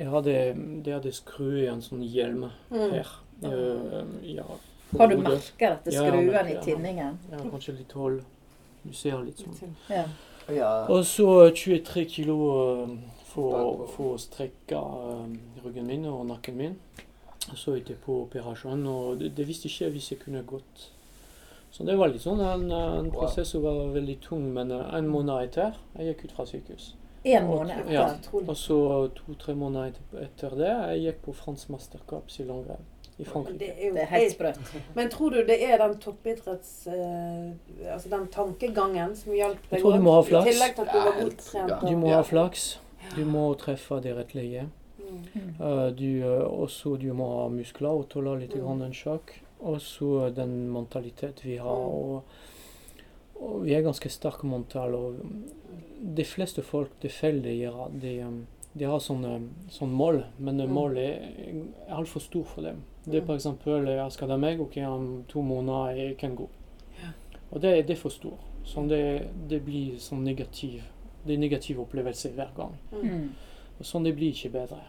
Speaker 5: jeg hadde, Det hadde skru i en sånn hjelm her. eh, ja, på
Speaker 2: Mm. Har du
Speaker 5: hodet.
Speaker 2: merker etter
Speaker 5: Ja, jeg har
Speaker 2: skruen
Speaker 5: merker,
Speaker 2: i
Speaker 5: ja.
Speaker 2: tinningen?
Speaker 5: Ja, kanskje litt hull. Du ser litt sånn.
Speaker 2: Ja.
Speaker 4: Ja.
Speaker 5: Og så eh, 23 kilo eh, for, for å strekke eh, ryggen min og nakken min. Og Så etterpå operasjonen, og det, det visste ikke jeg hvis jeg kunne gått. Så det var litt sånn en, eh, en
Speaker 4: Wow.
Speaker 5: prosess som var veldig tung, men eh, en måned etter jeg gikk ut fra sykehus.
Speaker 2: En måned etter.
Speaker 5: Ja.
Speaker 3: Utrolig.
Speaker 5: Og så to-tre måneder etter, etter det jeg gikk på fransk mesterkaps i langrenn i
Speaker 3: Men
Speaker 5: Frankrike.
Speaker 3: Det er jo
Speaker 2: Det er helt sprøtt.
Speaker 3: Men tror du det er den toppidretts... eh, altså den tankegangen som hjalp deg?
Speaker 5: Jeg tror du må ha flaks.
Speaker 3: I tillegg til at du var
Speaker 4: Ja,
Speaker 3: godt
Speaker 4: ja.
Speaker 3: trent.
Speaker 5: Du
Speaker 3: og-
Speaker 5: må
Speaker 4: Ja.
Speaker 5: ha flaks. Du må treffe det rette leie.
Speaker 3: Mm.
Speaker 5: Eh, du, eh, også du må ha muskler og tåle litt grann en sjokk. Og så eh, den mentalitet vi har. Og, og vi er ganske sterke mentalt. Og de fleste folk det feil de gjør, de, um, de har sånne, sånn mål, men det målet er er altfor stor for dem. Det er for eh, eksempel Jeg skal ha meg, ok, om to måneder jeg kan gå. Og det, det er for stor. Så det, det blir sånn negativ, det er negativ opplevelse hver gang.
Speaker 2: Mm.
Speaker 5: Og Sånn det blir ikke bedre.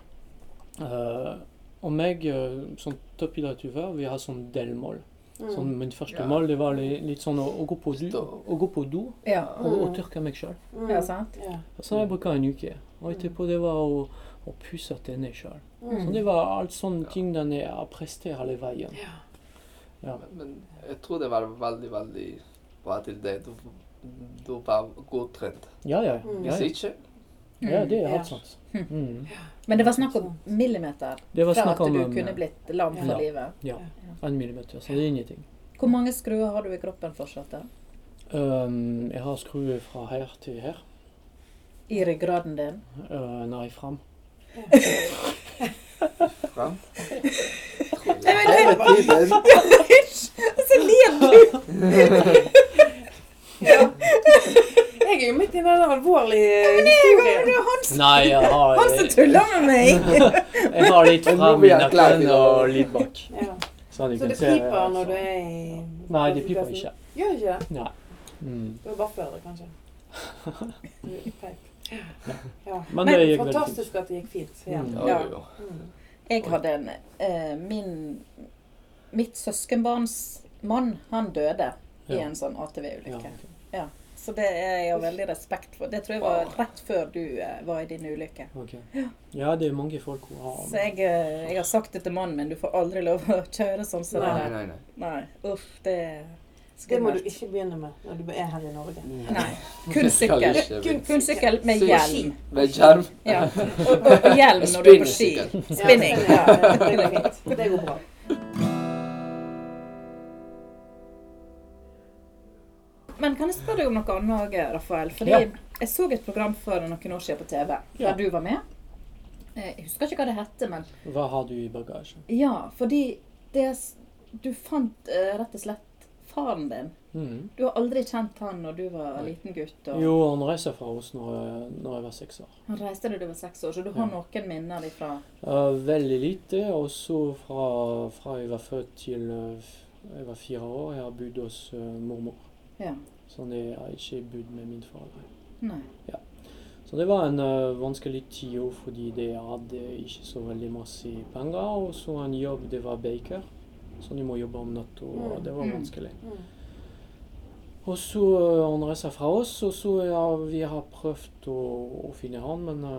Speaker 5: Eh, og meg eh, som toppidrettsutøver, vi har sånn delmål.
Speaker 3: Mm.
Speaker 5: Sånn, min første
Speaker 4: Mm. Ja.
Speaker 5: mål det var li- litt sånn å, å, gå, på do,
Speaker 4: Stå.
Speaker 5: å gå på do
Speaker 2: Ja.
Speaker 5: og, og tørke meg sjøl.
Speaker 3: Mm.
Speaker 2: ja, sant?
Speaker 3: Ja.
Speaker 5: Så jeg bruker en uke. Og etterpå det var å, å pusse tennene sjøl.
Speaker 3: Mm.
Speaker 5: Så Sånn det var alt sånne
Speaker 4: Mm.
Speaker 5: ting den jeg har prestert hele veien.
Speaker 4: Men, men jeg tror det var veldig, veldig bra til deg. Du, du var godt trent.
Speaker 5: Ja, ja.
Speaker 3: Mm.
Speaker 5: ja,
Speaker 4: Hvis
Speaker 2: *laughs*
Speaker 5: ja.
Speaker 4: ikke
Speaker 5: ja det er
Speaker 3: Ja.
Speaker 5: helt sant. Mm.
Speaker 2: Men det var snakk om millimeter
Speaker 5: Det var
Speaker 2: fra at
Speaker 5: snakk om
Speaker 2: du
Speaker 5: um,
Speaker 2: kunne blitt lam for
Speaker 5: Ja.
Speaker 2: livet.
Speaker 5: en millimeter, så det er ingenting.
Speaker 2: Hvor mange skruer har du i kroppen fortsatt? da?
Speaker 5: Um, jeg har skruet fra her til her.
Speaker 2: I ryggraden din?
Speaker 5: Uh, nei, fram.
Speaker 4: fram Det var tiden.
Speaker 3: Jeg er jo midt i en eller annen alvorlig historie.
Speaker 5: Nei, jeg har,
Speaker 2: Han som tuller med
Speaker 5: *laughs*
Speaker 2: meg!
Speaker 5: jeg har litt
Speaker 4: Nå
Speaker 5: fram
Speaker 4: blir
Speaker 5: i
Speaker 4: jeg klar
Speaker 5: nakken
Speaker 4: til å-
Speaker 5: og litt bak.
Speaker 3: Ja.
Speaker 5: Sånn, jeg
Speaker 3: Så
Speaker 5: kan
Speaker 3: det
Speaker 5: se-
Speaker 3: piper når du er i
Speaker 5: Nei, det piper ikke.
Speaker 3: Gjør det ikke det?
Speaker 5: Nei. Mm.
Speaker 3: Det var bare før det, kanskje. Du, Peip. Ja. Men
Speaker 5: Men det gikk veldig
Speaker 3: fantastisk at det gikk fint. Ja.
Speaker 5: Mm.
Speaker 4: Ja,
Speaker 2: Ja.
Speaker 4: jo, jo.
Speaker 3: Mm.
Speaker 2: Jeg hadde en eh, min, Mitt søskenbarns mann, han døde i
Speaker 5: Ja.
Speaker 2: en sånn ATV-ulykke.
Speaker 5: Ja.
Speaker 2: Så det er jeg har veldig respekt for. Det tror jeg var rett før du eh, var i din ulykke.
Speaker 5: Ok. Ja, det er mange folk som
Speaker 2: Så
Speaker 5: har
Speaker 2: jeg, eh, jeg har sagt det til mannen min, du får aldri lov å kjøre sånn som det
Speaker 4: Nei,
Speaker 2: der.
Speaker 4: nei, nei.
Speaker 2: Nei, uff, det er
Speaker 3: Det må du
Speaker 2: skummelt.
Speaker 3: ikke begynne med når du er her i Norge.
Speaker 4: *laughs*
Speaker 2: Nei, kun
Speaker 4: Skal
Speaker 2: sykkel.
Speaker 4: ikke
Speaker 2: Kun,
Speaker 4: bli-
Speaker 2: kun sykkel med
Speaker 4: Sy-
Speaker 2: hjelm.
Speaker 4: Med skjerm. *laughs*
Speaker 2: Ja. Og, og, og hjelm når du er på ski.
Speaker 4: Spinnesykkel.
Speaker 2: Spinning.
Speaker 3: Ja, det går fint. Det går bra.
Speaker 2: Men kan jeg spørre deg om noe annet, Åge, Rafael? Fordi
Speaker 5: Ja.
Speaker 2: jeg så et program for noen år siden på TV, der
Speaker 5: Ja.
Speaker 2: du var med. Eh, Jeg husker ikke hva det hette, men
Speaker 5: Hva har du i bagasjen?
Speaker 2: ja, fordi det s- Du fant eh, rett og slett faren din.
Speaker 5: Mm.
Speaker 2: Du har aldri kjent han når du var liten gutt. Og
Speaker 5: Jo, han reiser fra oss når jeg, når jeg var seks år.
Speaker 2: Han reiste da du var seks år, så du har noen minner ifra
Speaker 5: Uh, veldig lite, og så fra, fra jeg var født til uh, f- jeg var fire år, jeg har bodd hos uh, mormor.
Speaker 2: Ja.
Speaker 5: Så jeg har ikke bodd med mine foreldre.
Speaker 2: Nei.
Speaker 5: Så det var en ø, vanskelig tiår fordi de hadde ikke så veldig masse penger. Og så en jobb, det var baker, så de må jobbe om natta. Og det var
Speaker 2: Mm.
Speaker 5: vanskelig.
Speaker 3: Mm.
Speaker 5: Og så ø, han reiste fra oss, og så ja, vi har prøvd å, å finne han, men ø,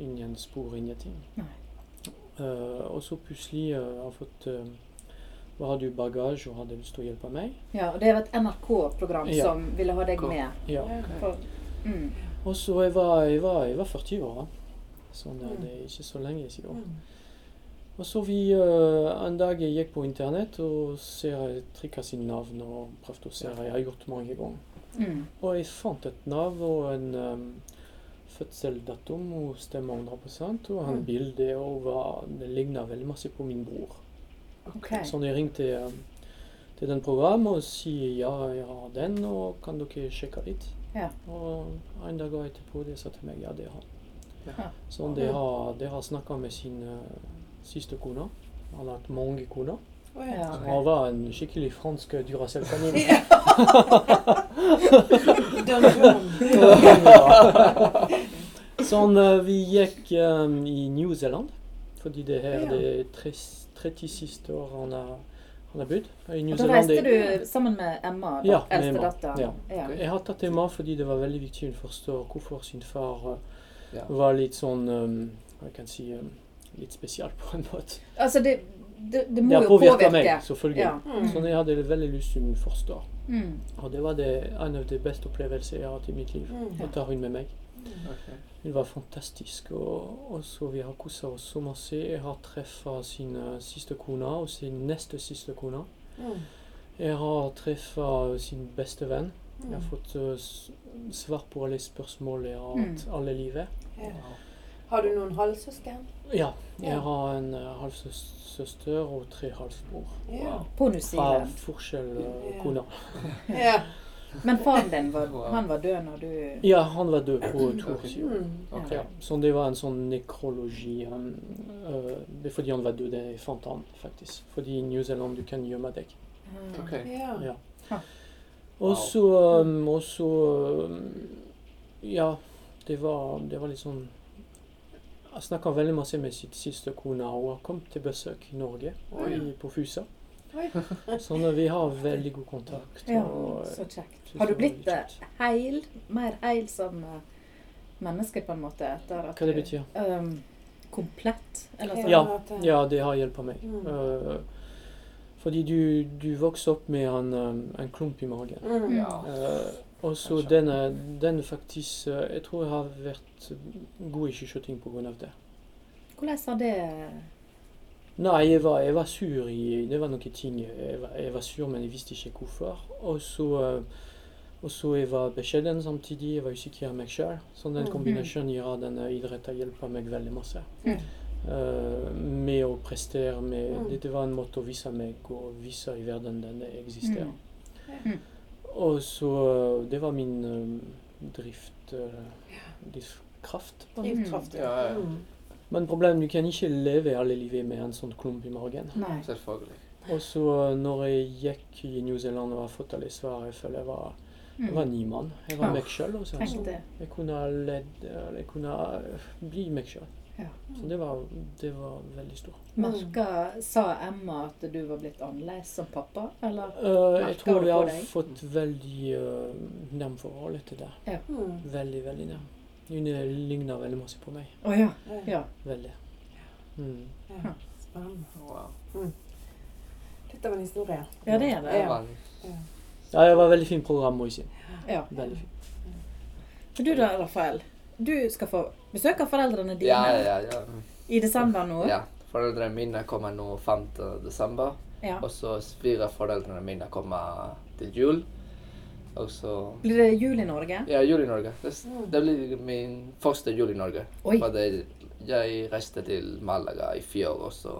Speaker 5: ingen spor, ingenting.
Speaker 2: Nei.
Speaker 5: Eh, og så plutselig ø, har jeg fått eh, ø, Hva har du i bagasje, og hadde lyst til å hjelpe meg?
Speaker 2: Ja, og det var et NRK-program
Speaker 5: Ja.
Speaker 2: som ville ha deg
Speaker 4: Kom.
Speaker 2: med.
Speaker 5: Ja.
Speaker 2: For, mm.
Speaker 5: Og så jeg var, jeg var, jeg var 40 år, da. så det,
Speaker 2: Mm.
Speaker 5: det er ikke så lenge siden. Og så vi eh, en dag jeg gikk på internett og ser trykka sin navn og prøvde å se. Jeg har gjort mange ganger.
Speaker 2: Mm.
Speaker 5: Og jeg fant et navn og en um, fødselsdato. Hun stemmer 100 og en bilde. Og var, det ligna veldig masse på min bror.
Speaker 2: Ok.
Speaker 5: Så jeg ringte um, til den e programmet og sier ja, jeg har er den, og kan dere sjekke litt?
Speaker 2: Ja.
Speaker 5: Og en dag etterpå e de sa er. til meg ja, det har han.
Speaker 4: Ja.
Speaker 5: Så de har, de har snakka med sin eh, siste kone. Han har hatt mange koner.
Speaker 3: Å ja.
Speaker 2: Ja.
Speaker 5: Så Han var en skikkelig fransk *laughs* Duracell-kanin.
Speaker 3: Dun, dun.
Speaker 5: sånn eh, vi gikk eh, i New Zealand, fordi det her
Speaker 3: Ja.
Speaker 5: er det tres- 30 siste år han har, han har bodd. I E, New
Speaker 2: Og da
Speaker 5: Zealand,
Speaker 2: reiste
Speaker 5: det-
Speaker 2: du sammen med Emma, da,
Speaker 5: Ja, med
Speaker 2: eldste
Speaker 5: Emma.
Speaker 2: datter.
Speaker 5: Ja.
Speaker 2: Ja.
Speaker 5: Jeg har tatt det med fordi det var veldig viktig å forstå hvorfor sin far eh,
Speaker 4: Ja.
Speaker 5: var litt sånn eh, Jeg kan si eh, litt spesiell på en måte.
Speaker 2: Altså, det, det, det
Speaker 5: Det
Speaker 2: må
Speaker 5: har
Speaker 2: jo
Speaker 5: påvirka
Speaker 2: påvirke.
Speaker 5: meg, selvfølgelig.
Speaker 2: Ja.
Speaker 5: Så jeg hadde veldig lyst til å forstå.
Speaker 2: Mm.
Speaker 5: Og det var det, en av de beste opplevelsene jeg har hatt i mitt liv.
Speaker 3: Mm.
Speaker 5: Og tar hun med meg.
Speaker 4: Ok.
Speaker 5: Hun var fantastisk, og, og så vi har kosa oss så masse. Jeg har truffet sin eh, siste kone og sin neste siste kone.
Speaker 3: Mm.
Speaker 5: Jeg har truffet sin beste venn.
Speaker 3: Mm.
Speaker 5: Jeg har fått eh, s- svar på alle spørsmål jeg har hatt alle livet.
Speaker 3: Har du noen halvsøsken? Ja.
Speaker 5: Ja, jeg har en eh, halvsøster og tre halvbror.
Speaker 3: Ja.
Speaker 2: På New
Speaker 5: Fra
Speaker 2: Zealand.
Speaker 5: forskjell eh,
Speaker 3: Ja.
Speaker 5: koner.
Speaker 3: ja.
Speaker 2: Men faren din
Speaker 5: *laughs*
Speaker 2: var,
Speaker 4: Wow.
Speaker 2: han var død når du
Speaker 5: Ja, han var død på to år siden.
Speaker 3: Mm.
Speaker 4: Ok.
Speaker 5: Ja, så det var en sånn nekrologi. Han, øh, det er fordi han var død, jeg fant han faktisk. Fordi i New Zealand du kan gjemme deg.
Speaker 4: Ok.
Speaker 3: ja.
Speaker 5: Ja. Og så um, Og så um, Ja, det var, det var liksom Jeg snakka veldig masse med sitt siste kone. og Hun kom til besøk i Norge, og i, på Fusa.
Speaker 3: Oi.
Speaker 5: *laughs* Så nå, vi har veldig god kontakt.
Speaker 2: Ja,
Speaker 5: og, eh,
Speaker 2: Så kjekt.
Speaker 5: synes
Speaker 2: Har du
Speaker 5: det var
Speaker 2: blitt
Speaker 5: veldig
Speaker 2: eh,
Speaker 5: kjekt.
Speaker 2: heil? Mer heil som eh, menneske, på en måte? Etter at
Speaker 5: Hva det
Speaker 2: du-
Speaker 5: betyr?
Speaker 2: Ehm, komplett? Eller sånn?
Speaker 5: Ja.
Speaker 3: at det-
Speaker 5: Ja, det har hjulpet meg.
Speaker 3: Mm.
Speaker 5: Eh, fordi du, du vokser opp med en, um, en klump i magen.
Speaker 3: Mm.
Speaker 4: Ja.
Speaker 5: Eh, og så
Speaker 4: Kanskje.
Speaker 5: den, er- den faktisk eh, Jeg tror jeg har vært god i skiskyting pga. det.
Speaker 2: Hvordan har det
Speaker 5: Nei, jeg var, jeg var sur i Det var noen ting jeg var, jeg var sur, men jeg visste ikke hvorfor. Og så eh, og så jeg var beskjeden samtidig. Jeg var usikker på meg sjøl. Så den
Speaker 3: Mhm.
Speaker 5: kombinasjonen gjør at denne idretten hjelper meg veldig masse.
Speaker 2: Mhm.
Speaker 5: Eh, med å prestere med
Speaker 3: Mhm.
Speaker 5: det, det var en måte å vise meg og vise i verden den eksisterer.
Speaker 2: Mm. Mhm.
Speaker 5: Og så eh, Det var min eh, drift, eh, drivkraft.
Speaker 3: Drivkraft.
Speaker 4: Ja, ja.
Speaker 3: Mm.
Speaker 5: Men problemet du kan ikke leve hele livet med en sånn klump i magen.
Speaker 2: Nei.
Speaker 4: Selvfølgelig.
Speaker 5: Og så eh, når jeg gikk i New Zealand og har fått alle svar, jeg føler jeg var, jeg var ni mann. Jeg var
Speaker 2: Ah.
Speaker 5: meg sjøl.
Speaker 2: Tenk det.
Speaker 5: Jeg kunne ha ledd eller Jeg kunne ha øh, bli meg sjøl.
Speaker 2: Ja.
Speaker 5: Så det var, det var veldig stort.
Speaker 2: Merka, sa Emma at du var blitt annerledes som pappa, eller?
Speaker 5: Eh, jeg
Speaker 2: Merker
Speaker 5: tror
Speaker 2: du
Speaker 5: vi
Speaker 2: på
Speaker 5: har
Speaker 2: deg?
Speaker 5: fått veldig uh, nært forhold til det.
Speaker 3: Mm.
Speaker 5: Veldig, veldig nært. Hun eh, ligner veldig masse på meg.
Speaker 2: Å ja.
Speaker 3: Ja.
Speaker 2: Ja.
Speaker 5: Veldig. Mm.
Speaker 3: Spennende.
Speaker 4: Wow.
Speaker 3: Dette var en historie.
Speaker 2: ja, det er det.
Speaker 3: Ja.
Speaker 4: Veldig.
Speaker 5: Ja, det var et veldig fint program, må jeg si.
Speaker 2: Ja.
Speaker 5: Veldig fint.
Speaker 2: Men Du da, Rafael. Du skal få besøk av foreldrene dine
Speaker 4: Ja, ja, ja.
Speaker 2: i desember nå.
Speaker 4: ja. Foreldrene mine kommer nå 5. desember.
Speaker 2: Ja.
Speaker 4: Og så svigerforeldrene mine kommer til jul. Og så
Speaker 2: Blir det jul i Norge?
Speaker 4: Ja, jul i Norge. Det, s- det blir min første jul i Norge.
Speaker 2: Mm. Oi.
Speaker 4: Fordi jeg reiste til Malaga i fjor, og så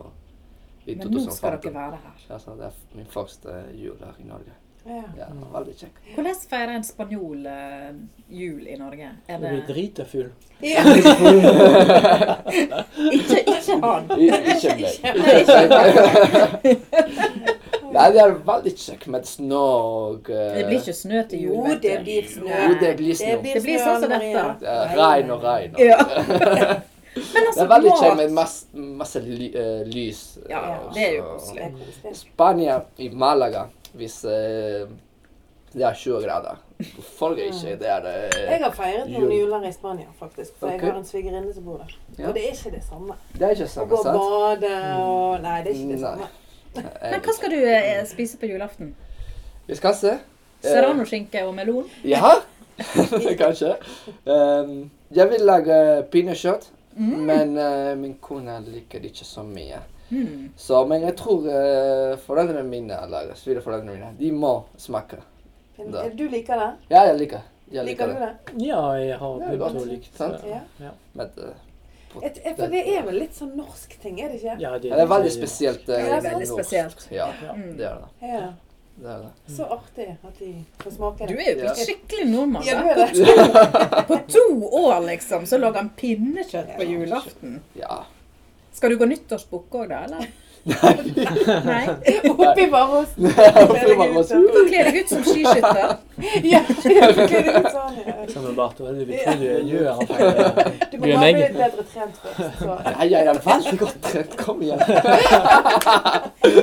Speaker 4: i
Speaker 2: Men nå skal dere
Speaker 4: 2015.
Speaker 2: være her.
Speaker 4: Ja, så det er f- min første jul her i Norge.
Speaker 3: Ja. *laughs*
Speaker 4: Ja,
Speaker 2: Mm.
Speaker 4: veldig kjekk.
Speaker 2: Hvordan feirer en spanjol eh, jul i Norge? Er
Speaker 5: Jeg blir
Speaker 2: det
Speaker 5: drita full.
Speaker 2: Ikke, *laughs* ikke han!
Speaker 4: I- Ikke meg. Ikke meg. *laughs* Nei, det er veldig kjekt med snø og eh,
Speaker 2: Det blir ikke snø til jul.
Speaker 3: Jo,
Speaker 2: vet
Speaker 3: det
Speaker 2: du.
Speaker 3: blir snø.
Speaker 4: Jo, det blir snø.
Speaker 2: Det blir sånn som
Speaker 3: Maria.
Speaker 2: dette.
Speaker 4: Det er regn og regn. og-
Speaker 2: Ja. Men
Speaker 4: *laughs* Det
Speaker 2: altså,
Speaker 4: er veldig kjekt med
Speaker 2: mat!
Speaker 4: masse, masse ly, eh, lys. eh,
Speaker 2: Ja,
Speaker 4: og
Speaker 2: det er jo
Speaker 4: så-
Speaker 2: koselig.
Speaker 3: Det er koselig.
Speaker 4: Spania i Malaga hvis eh, det er 20 grader. Hvorfor ikke? eh, Det er
Speaker 3: Mm. Jeg
Speaker 4: det
Speaker 3: har feiret noen
Speaker 4: Jul.
Speaker 3: juler i Spania, faktisk. For jeg
Speaker 4: Ok.
Speaker 3: har en svigerinne som bor der.
Speaker 4: Ja.
Speaker 3: Og det er ikke det samme.
Speaker 4: Det er ikke
Speaker 3: Å
Speaker 4: samme,
Speaker 3: gå og
Speaker 4: sant?
Speaker 3: bade og Nei, det er ikke det
Speaker 4: Nei.
Speaker 3: samme.
Speaker 4: Eh,
Speaker 2: Men hva skal du eh, spise på julaften?
Speaker 4: Vi skal se. Eh,
Speaker 2: Serranoskinke og melon?
Speaker 4: Jaha? *laughs* Kanskje. Um, jeg vil lage pinnekjøtt,
Speaker 3: Mm.
Speaker 4: men eh, min kone liker det ikke så mye.
Speaker 2: Mm.
Speaker 4: Så, men jeg tror eh, foreldrene mine eller svigerforeldrene mine, de må smake.
Speaker 3: Men
Speaker 4: Da.
Speaker 3: Du liker det?
Speaker 4: Ja, jeg liker, jeg
Speaker 3: Liker du det?
Speaker 5: Ja, jeg har
Speaker 4: Det er
Speaker 5: begynt å
Speaker 4: godt,
Speaker 5: like
Speaker 4: sant?
Speaker 5: det.
Speaker 3: Ja.
Speaker 4: Med, eh,
Speaker 3: Et, et, for det er vel litt sånn norsk ting, er det ikke?
Speaker 5: Ja,
Speaker 4: Ja, det er veldig spesielt. eh,
Speaker 3: Ja, det er veldig
Speaker 4: norsk.
Speaker 2: spesielt.
Speaker 4: Ja,
Speaker 2: Mm.
Speaker 4: det er det.
Speaker 3: Ja.
Speaker 4: det, er det.
Speaker 3: Så artig at de får smake
Speaker 2: Du
Speaker 3: det.
Speaker 2: er jo blitt
Speaker 4: Ja.
Speaker 2: skikkelig nordmann.
Speaker 3: Ja,
Speaker 2: da.
Speaker 3: du er det.
Speaker 2: På to år, liksom, så lager han pinnekjøtt på julaften.
Speaker 4: Ja.
Speaker 2: Skal du gå nyttårsbukk òg, da?
Speaker 4: *laughs*
Speaker 2: eller? Nei. Nei?
Speaker 3: Oppi varehosen.
Speaker 4: Oppi varehosen.
Speaker 2: Du kler deg ut som skiskytter.
Speaker 3: Ja, det er litt sånn, ja.
Speaker 5: Samme Bart, hva er det vi tror du gjør? Rafael?
Speaker 3: Du
Speaker 5: Du
Speaker 3: må
Speaker 5: er
Speaker 3: bare bli
Speaker 5: meg.
Speaker 3: bedre trent først.
Speaker 4: *laughs*
Speaker 3: Så.
Speaker 4: Nei, jeg er veldig godt trent. Kom igjen.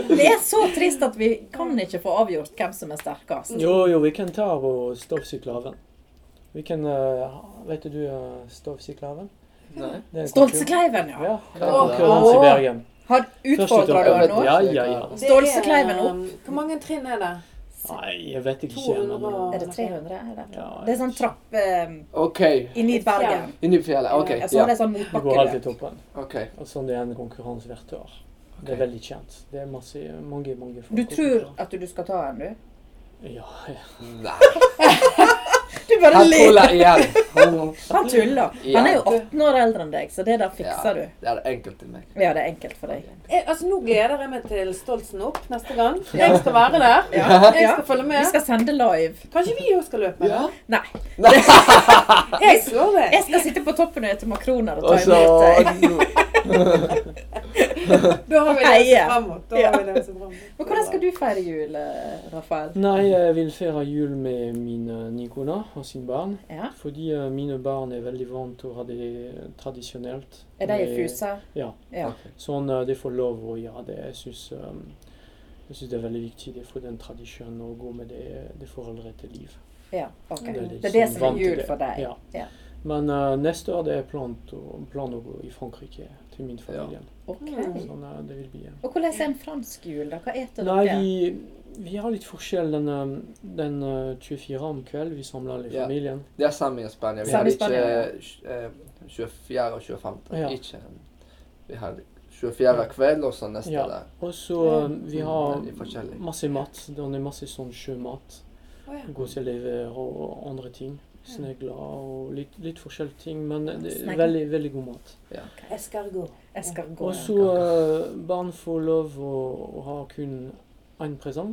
Speaker 2: Det er så trist at vi kan ikke få avgjort hvem som er sterkest.
Speaker 5: Jo, jo, vi kan ta og stavsikle av den. Vi kan eh, Vet du uh, stavsikle av den?
Speaker 4: Nei.
Speaker 5: Det er en konkurran-
Speaker 2: Stolsekleiven, ja.
Speaker 5: Ja, det er en
Speaker 4: Åh.
Speaker 5: konkurranse i Bergen.
Speaker 2: Har utfordra du
Speaker 5: Første
Speaker 2: han
Speaker 5: etappe.
Speaker 2: nå?
Speaker 5: Ja, ja, ja.
Speaker 3: Det er,
Speaker 2: Stålsekleiven opp.
Speaker 3: um, Hvor mange trinn er det?
Speaker 5: Nei, jeg vet ikke.
Speaker 3: 200 og-
Speaker 5: Men,
Speaker 2: Er det 300? Er det?
Speaker 5: ja,
Speaker 2: det er sånn trapp eh,
Speaker 4: OK.
Speaker 2: inni Bergen.
Speaker 4: Inni fjellet. OK.
Speaker 2: Jeg så
Speaker 4: Ja.
Speaker 2: det er sånn
Speaker 5: Du går
Speaker 2: motbakke.
Speaker 5: alltid toppen.
Speaker 4: OK.
Speaker 5: Og sånn det er en konkurranse hvert år. Det er veldig kjent. Det er masse, mange, mange folk.
Speaker 2: Du tror at du skal ta en, du?
Speaker 5: Ja, ja.
Speaker 4: Nei.
Speaker 2: Du bare
Speaker 4: Han
Speaker 2: ler.
Speaker 4: tuller igjen. Han-
Speaker 2: Han tuller. Han er jo 18 år eldre enn deg, så det der
Speaker 4: Ja,
Speaker 2: fikser du.
Speaker 4: det er enkelt til meg.
Speaker 2: Ja, det er enkelt for deg.
Speaker 3: Eh, Altså, nå gleder jeg meg til Stoltsen opp neste gang. Jeg skal være der. Jeg skal følge
Speaker 2: Vi
Speaker 3: med.
Speaker 2: skal sende live.
Speaker 3: Kanskje vi òg skal løpe?
Speaker 4: Ja.
Speaker 2: Nei.
Speaker 3: Jeg slår det.
Speaker 2: Jeg skal sitte på toppen og ete makroner og
Speaker 4: Og
Speaker 2: ta
Speaker 4: så
Speaker 2: imot deg.
Speaker 3: Da har vi
Speaker 2: Heie.
Speaker 3: det framover. Da har vi det framover.
Speaker 2: Men hvordan skal du feire jul, eh, Rafael?
Speaker 5: Nei, jeg vil feire jul med min eh, nye kone og sine barn.
Speaker 2: Ja.
Speaker 5: Fordi eh, mine barn er veldig vant til å ha det tradisjonelt.
Speaker 2: Er de i
Speaker 5: Med-
Speaker 2: Fusa?
Speaker 5: Ja.
Speaker 2: Ja.
Speaker 5: Sånn eh, de får lov å gjøre det. Jeg syns, jeg synes det er veldig viktig det for den tradisjonen å gå med det, det forholdet til liv.
Speaker 2: Ja, ok.
Speaker 5: Det er de
Speaker 2: Det er det
Speaker 5: som
Speaker 2: som
Speaker 5: vant
Speaker 2: er
Speaker 5: til
Speaker 2: jul
Speaker 5: det.
Speaker 2: for deg.
Speaker 5: Ja.
Speaker 2: Ja.
Speaker 5: Men eh, neste år det er plan, to, plan å gå i Frankrike til min familie.
Speaker 2: Ok.
Speaker 5: Sånn eh, det vil bli. eh.
Speaker 2: Og hvordan er en fransk jul, da? Hva eter
Speaker 5: Nei,
Speaker 2: dere?
Speaker 5: vi, vi har litt forskjell den, eh, den eh, 24 om kvelden. Vi samler hele
Speaker 4: Ja.
Speaker 5: familien.
Speaker 4: *laughs* Det er samme i Spania. Vi
Speaker 2: Samme
Speaker 4: har
Speaker 2: i
Speaker 4: ikke
Speaker 2: Spania,
Speaker 4: eh, tj- eh, 24 og 25.
Speaker 5: Ja.
Speaker 4: Ikke, vi har 24 kveld og så neste
Speaker 5: Ja.
Speaker 4: dag.
Speaker 5: Og så eh, vi har
Speaker 4: Veldig forskjellig.
Speaker 5: masse mat. Det er masse sånn sjømat.
Speaker 3: Å ja.
Speaker 5: Gåselever og andre ting. Snegler og litt, litt forskjellige ting, men det er
Speaker 2: Snegler.
Speaker 5: veldig, veldig god mat.
Speaker 3: Escargot.
Speaker 2: Jeg skal gå.
Speaker 5: Og så eh, barn får lov å, å ha kun én presang.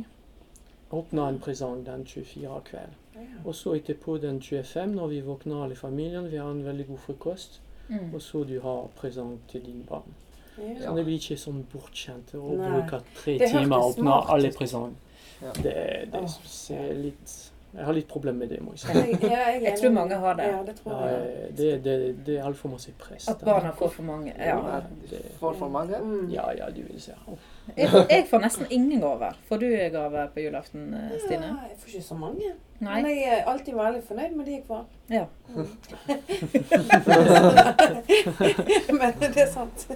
Speaker 5: Åpne en presang den 24. kveld. Og så etterpå den 25, når vi våkner alle familien, vi har en veldig god frokost.
Speaker 2: Mm.
Speaker 5: Og så du har presang til dine barn.
Speaker 3: Ja.
Speaker 5: Så det blir ikke sånn bortskjemt å
Speaker 3: Nei.
Speaker 5: bruke tre
Speaker 3: Det hørtes
Speaker 5: timer å åpne
Speaker 3: smart
Speaker 5: alle
Speaker 3: ut.
Speaker 5: presang.
Speaker 4: Ja.
Speaker 5: Det, det
Speaker 3: Åh.
Speaker 5: synes jeg er litt Jeg har litt problemer med det, må jeg si.
Speaker 3: Jeg, ja, jeg, er
Speaker 2: Jeg tror
Speaker 3: enig.
Speaker 2: mange har det.
Speaker 3: Ja, det tror
Speaker 5: Ja,
Speaker 3: jeg.
Speaker 5: eh, det, det, det er altfor masse press.
Speaker 2: At
Speaker 5: der.
Speaker 2: barna får for mange. Ja.
Speaker 5: Ja, det-
Speaker 4: For for mange?
Speaker 3: Mm.
Speaker 5: Ja, ja, du vil se. Åh.
Speaker 2: Jeg, får, jeg får nesten ingen gaver. Får du gaver på julaften, eh, Stine?
Speaker 3: Ja, jeg får ikke så mange.
Speaker 2: Nei?
Speaker 3: Men jeg er alltid veldig fornøyd med de jeg får.
Speaker 2: Ja.
Speaker 3: Mm. *laughs* Men det er sant.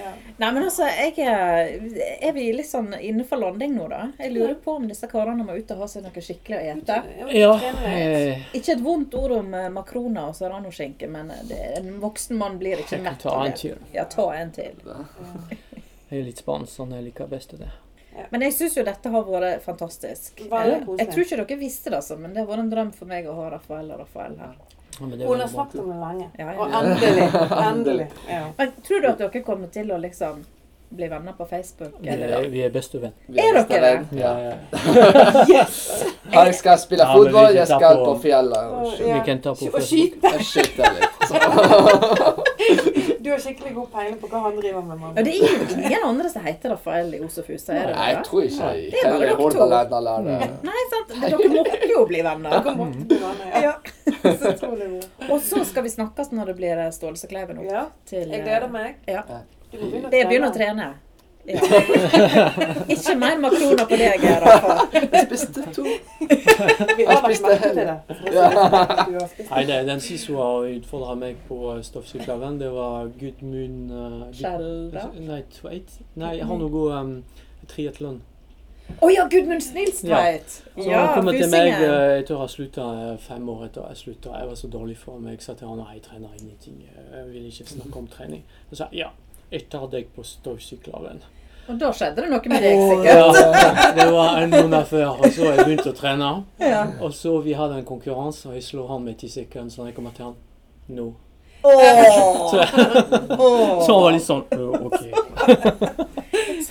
Speaker 3: Ja.
Speaker 2: Nei, men altså, jeg er, er vi litt sånn innenfor landing nå, da? Jeg lurer på om disse karene må ut og ha seg noe skikkelig å ete.
Speaker 5: Ja,
Speaker 3: Trener jeg.
Speaker 5: eh,
Speaker 2: Ikke et vondt ord om eh, makroner og serranoskinke, men eh, det, en voksen mann blir ikke
Speaker 5: jeg kan
Speaker 2: mett
Speaker 5: ta
Speaker 2: av
Speaker 5: en
Speaker 2: det.
Speaker 5: til.
Speaker 2: Ja, ta en til.
Speaker 9: Jeg er litt spansk, sånn jeg liker best det.
Speaker 2: Men jeg syns jo dette har vært fantastisk.
Speaker 3: Veldig
Speaker 2: Eh,
Speaker 3: koselig.
Speaker 2: Jeg tror ikke dere visste det, altså, men det har vært en drøm for meg å ha Rafael og Rafael her.
Speaker 9: Ja, men det er
Speaker 3: Hun har
Speaker 9: veldig bra.
Speaker 3: snakket om det lenge.
Speaker 2: Ja,
Speaker 3: Og
Speaker 2: ja.
Speaker 3: endelig. Endelig. Ja.
Speaker 2: Men tror du at dere kommer til å liksom bli venner på Facebook?
Speaker 9: Vi
Speaker 2: Eller?
Speaker 9: er, vi er bestevenn.
Speaker 4: Vi er
Speaker 2: Er dere
Speaker 4: restaurant,
Speaker 9: Ja,
Speaker 4: Ja.
Speaker 9: ja.
Speaker 4: Han skal spille
Speaker 9: Ja, men vi
Speaker 4: fotball, jeg
Speaker 9: sitter
Speaker 4: skal
Speaker 9: på-
Speaker 4: på fjellet og
Speaker 3: Og-
Speaker 4: skyte.
Speaker 3: ja.
Speaker 9: Vi kan ta på
Speaker 3: Og
Speaker 9: Facebook.
Speaker 3: skyte.
Speaker 4: Jeg skyter litt.
Speaker 3: Du har skikkelig god peiling på hva han driver
Speaker 2: Ja,
Speaker 3: med. Mamma.
Speaker 2: det er jo ingen andre som heter Rafael i Os og Fusa, er det
Speaker 4: Nei, jeg
Speaker 2: det?
Speaker 4: tror ikke i
Speaker 2: er bare
Speaker 4: hele
Speaker 2: dere to.
Speaker 4: Hordaland eller
Speaker 2: Nei, sant? Dere måtte jo bli venner.
Speaker 3: Dere måtte bli venner, ja.
Speaker 2: Mm. *laughs* Ja.
Speaker 3: *laughs* Så utrolig bra.
Speaker 2: Og så skal vi snakkes når det blir eh, Ståle som kleiver nå.
Speaker 3: Ja,
Speaker 2: Til, eh,
Speaker 3: jeg gleder meg.
Speaker 2: Ja.
Speaker 3: Du må begynne å
Speaker 2: Det begynner å trene. Ja. *laughs* Ikke mer makroner på deg, eh, Rafael.
Speaker 4: Jeg spiste to.
Speaker 3: Vi har
Speaker 4: Jeg
Speaker 3: lagt
Speaker 4: spiste
Speaker 3: merke *laughs* til det. Du har spist.
Speaker 5: Nei, det, den siste hun har utfordra meg på eh, stoffsyklaven, det var Gudmund uh,
Speaker 2: Skjelbra?
Speaker 5: Nei, Tveit. Nei, jeg har noe um, triatlon.
Speaker 2: Å ja, Gudmund Snilstveit!
Speaker 5: Så han kommer til meg
Speaker 2: Fusingen.
Speaker 5: eh, etter å ha slutta fem år etter jeg slutta. Jeg var så dårlig for meg, sa til han at jeg trener ingenting. Jeg vil ikke snakke om trening. Jeg sa ja, jeg tar deg på stoffsyklaven.
Speaker 2: Og da skjedde det noe med deg,
Speaker 5: Og,
Speaker 2: sikkert.
Speaker 5: ja, det var en måned før, og så har jeg begynt å trene.
Speaker 2: Ja.
Speaker 5: Og så vi hadde en konkurranse, og jeg slo han med ti sekunder, så når jeg kommer til han nå
Speaker 2: Åh. Åh.
Speaker 5: Så han var litt sånn «Øh, *laughs* OK.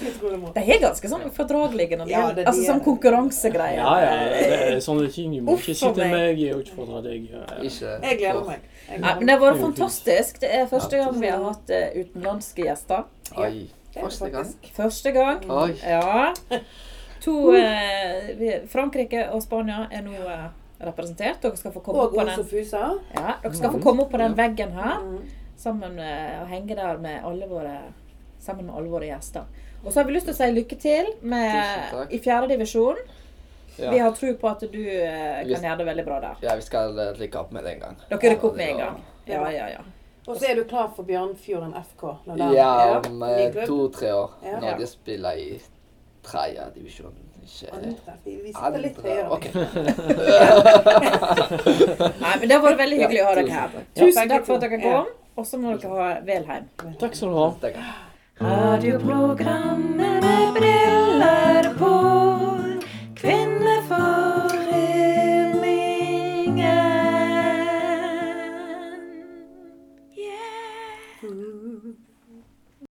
Speaker 3: Utrolig bra.
Speaker 2: De er ganske sånn ufordragelige når det
Speaker 3: Ja,
Speaker 2: gjelder
Speaker 3: det-
Speaker 2: altså
Speaker 3: de er
Speaker 2: sånn
Speaker 3: det.
Speaker 2: konkurransegreier.
Speaker 5: Ja, ja, det er sånne ting. Du må
Speaker 2: Uff,
Speaker 5: ikke
Speaker 2: for
Speaker 5: sitte
Speaker 2: meg.
Speaker 5: meg og utfordre deg. eh.
Speaker 4: Ikke.
Speaker 3: Jeg gleder meg. Jeg
Speaker 2: Nei, men
Speaker 3: gleder meg.
Speaker 2: det har vært fantastisk. Det er første gang vi har hatt eh, utenlandske gjester.
Speaker 4: Oi.
Speaker 3: er
Speaker 4: Første gang.
Speaker 3: faktisk-
Speaker 2: Første gang.
Speaker 4: Oi.
Speaker 2: Ja. To eh, vi- Frankrike og Spania er nå eh, representert. Dere skal få komme opp
Speaker 3: Og
Speaker 2: på
Speaker 3: Os
Speaker 2: den,
Speaker 3: og Fusa.
Speaker 2: ja, dere skal få komme opp på den veggen her
Speaker 3: Mm.
Speaker 2: sammen eh, og henge der med alle våre, sammen med alle våre gjester. Og så har vi lyst til å si lykke til
Speaker 4: Tusen
Speaker 2: med,
Speaker 4: takk.
Speaker 2: i fjerde divisjon.
Speaker 4: Ja.
Speaker 2: Vi har tro på at du eh,
Speaker 4: Yes.
Speaker 2: kan gjøre det veldig bra der.
Speaker 4: Ja, vi skal eh, rykke opp med det en gang.
Speaker 2: Dere rykker opp med en gang. Ja, ja, ja.
Speaker 3: Og så er du klar for Bjørnfjorden FK. når den-
Speaker 4: Ja, om eh,
Speaker 3: ny klubb.
Speaker 4: to-tre år.
Speaker 3: Ja.
Speaker 4: Når de spiller i tredje divisjon. Ikke
Speaker 3: Andre. Vi vi sitter litt
Speaker 4: andre.
Speaker 3: høyere.
Speaker 4: Ok.
Speaker 2: Nei, men Det har vært veldig hyggelig å ha dere
Speaker 4: Ja, tusen
Speaker 2: her.
Speaker 4: takk.
Speaker 2: Tusen takk for at dere
Speaker 3: Ja.
Speaker 2: kom. Og så må dere ha vel hjem.
Speaker 5: Takk skal du ha.
Speaker 4: Takk.
Speaker 10: Radioprogrammet med briller på.
Speaker 3: Mm.
Speaker 10: Kvinneforeningen. Yeah.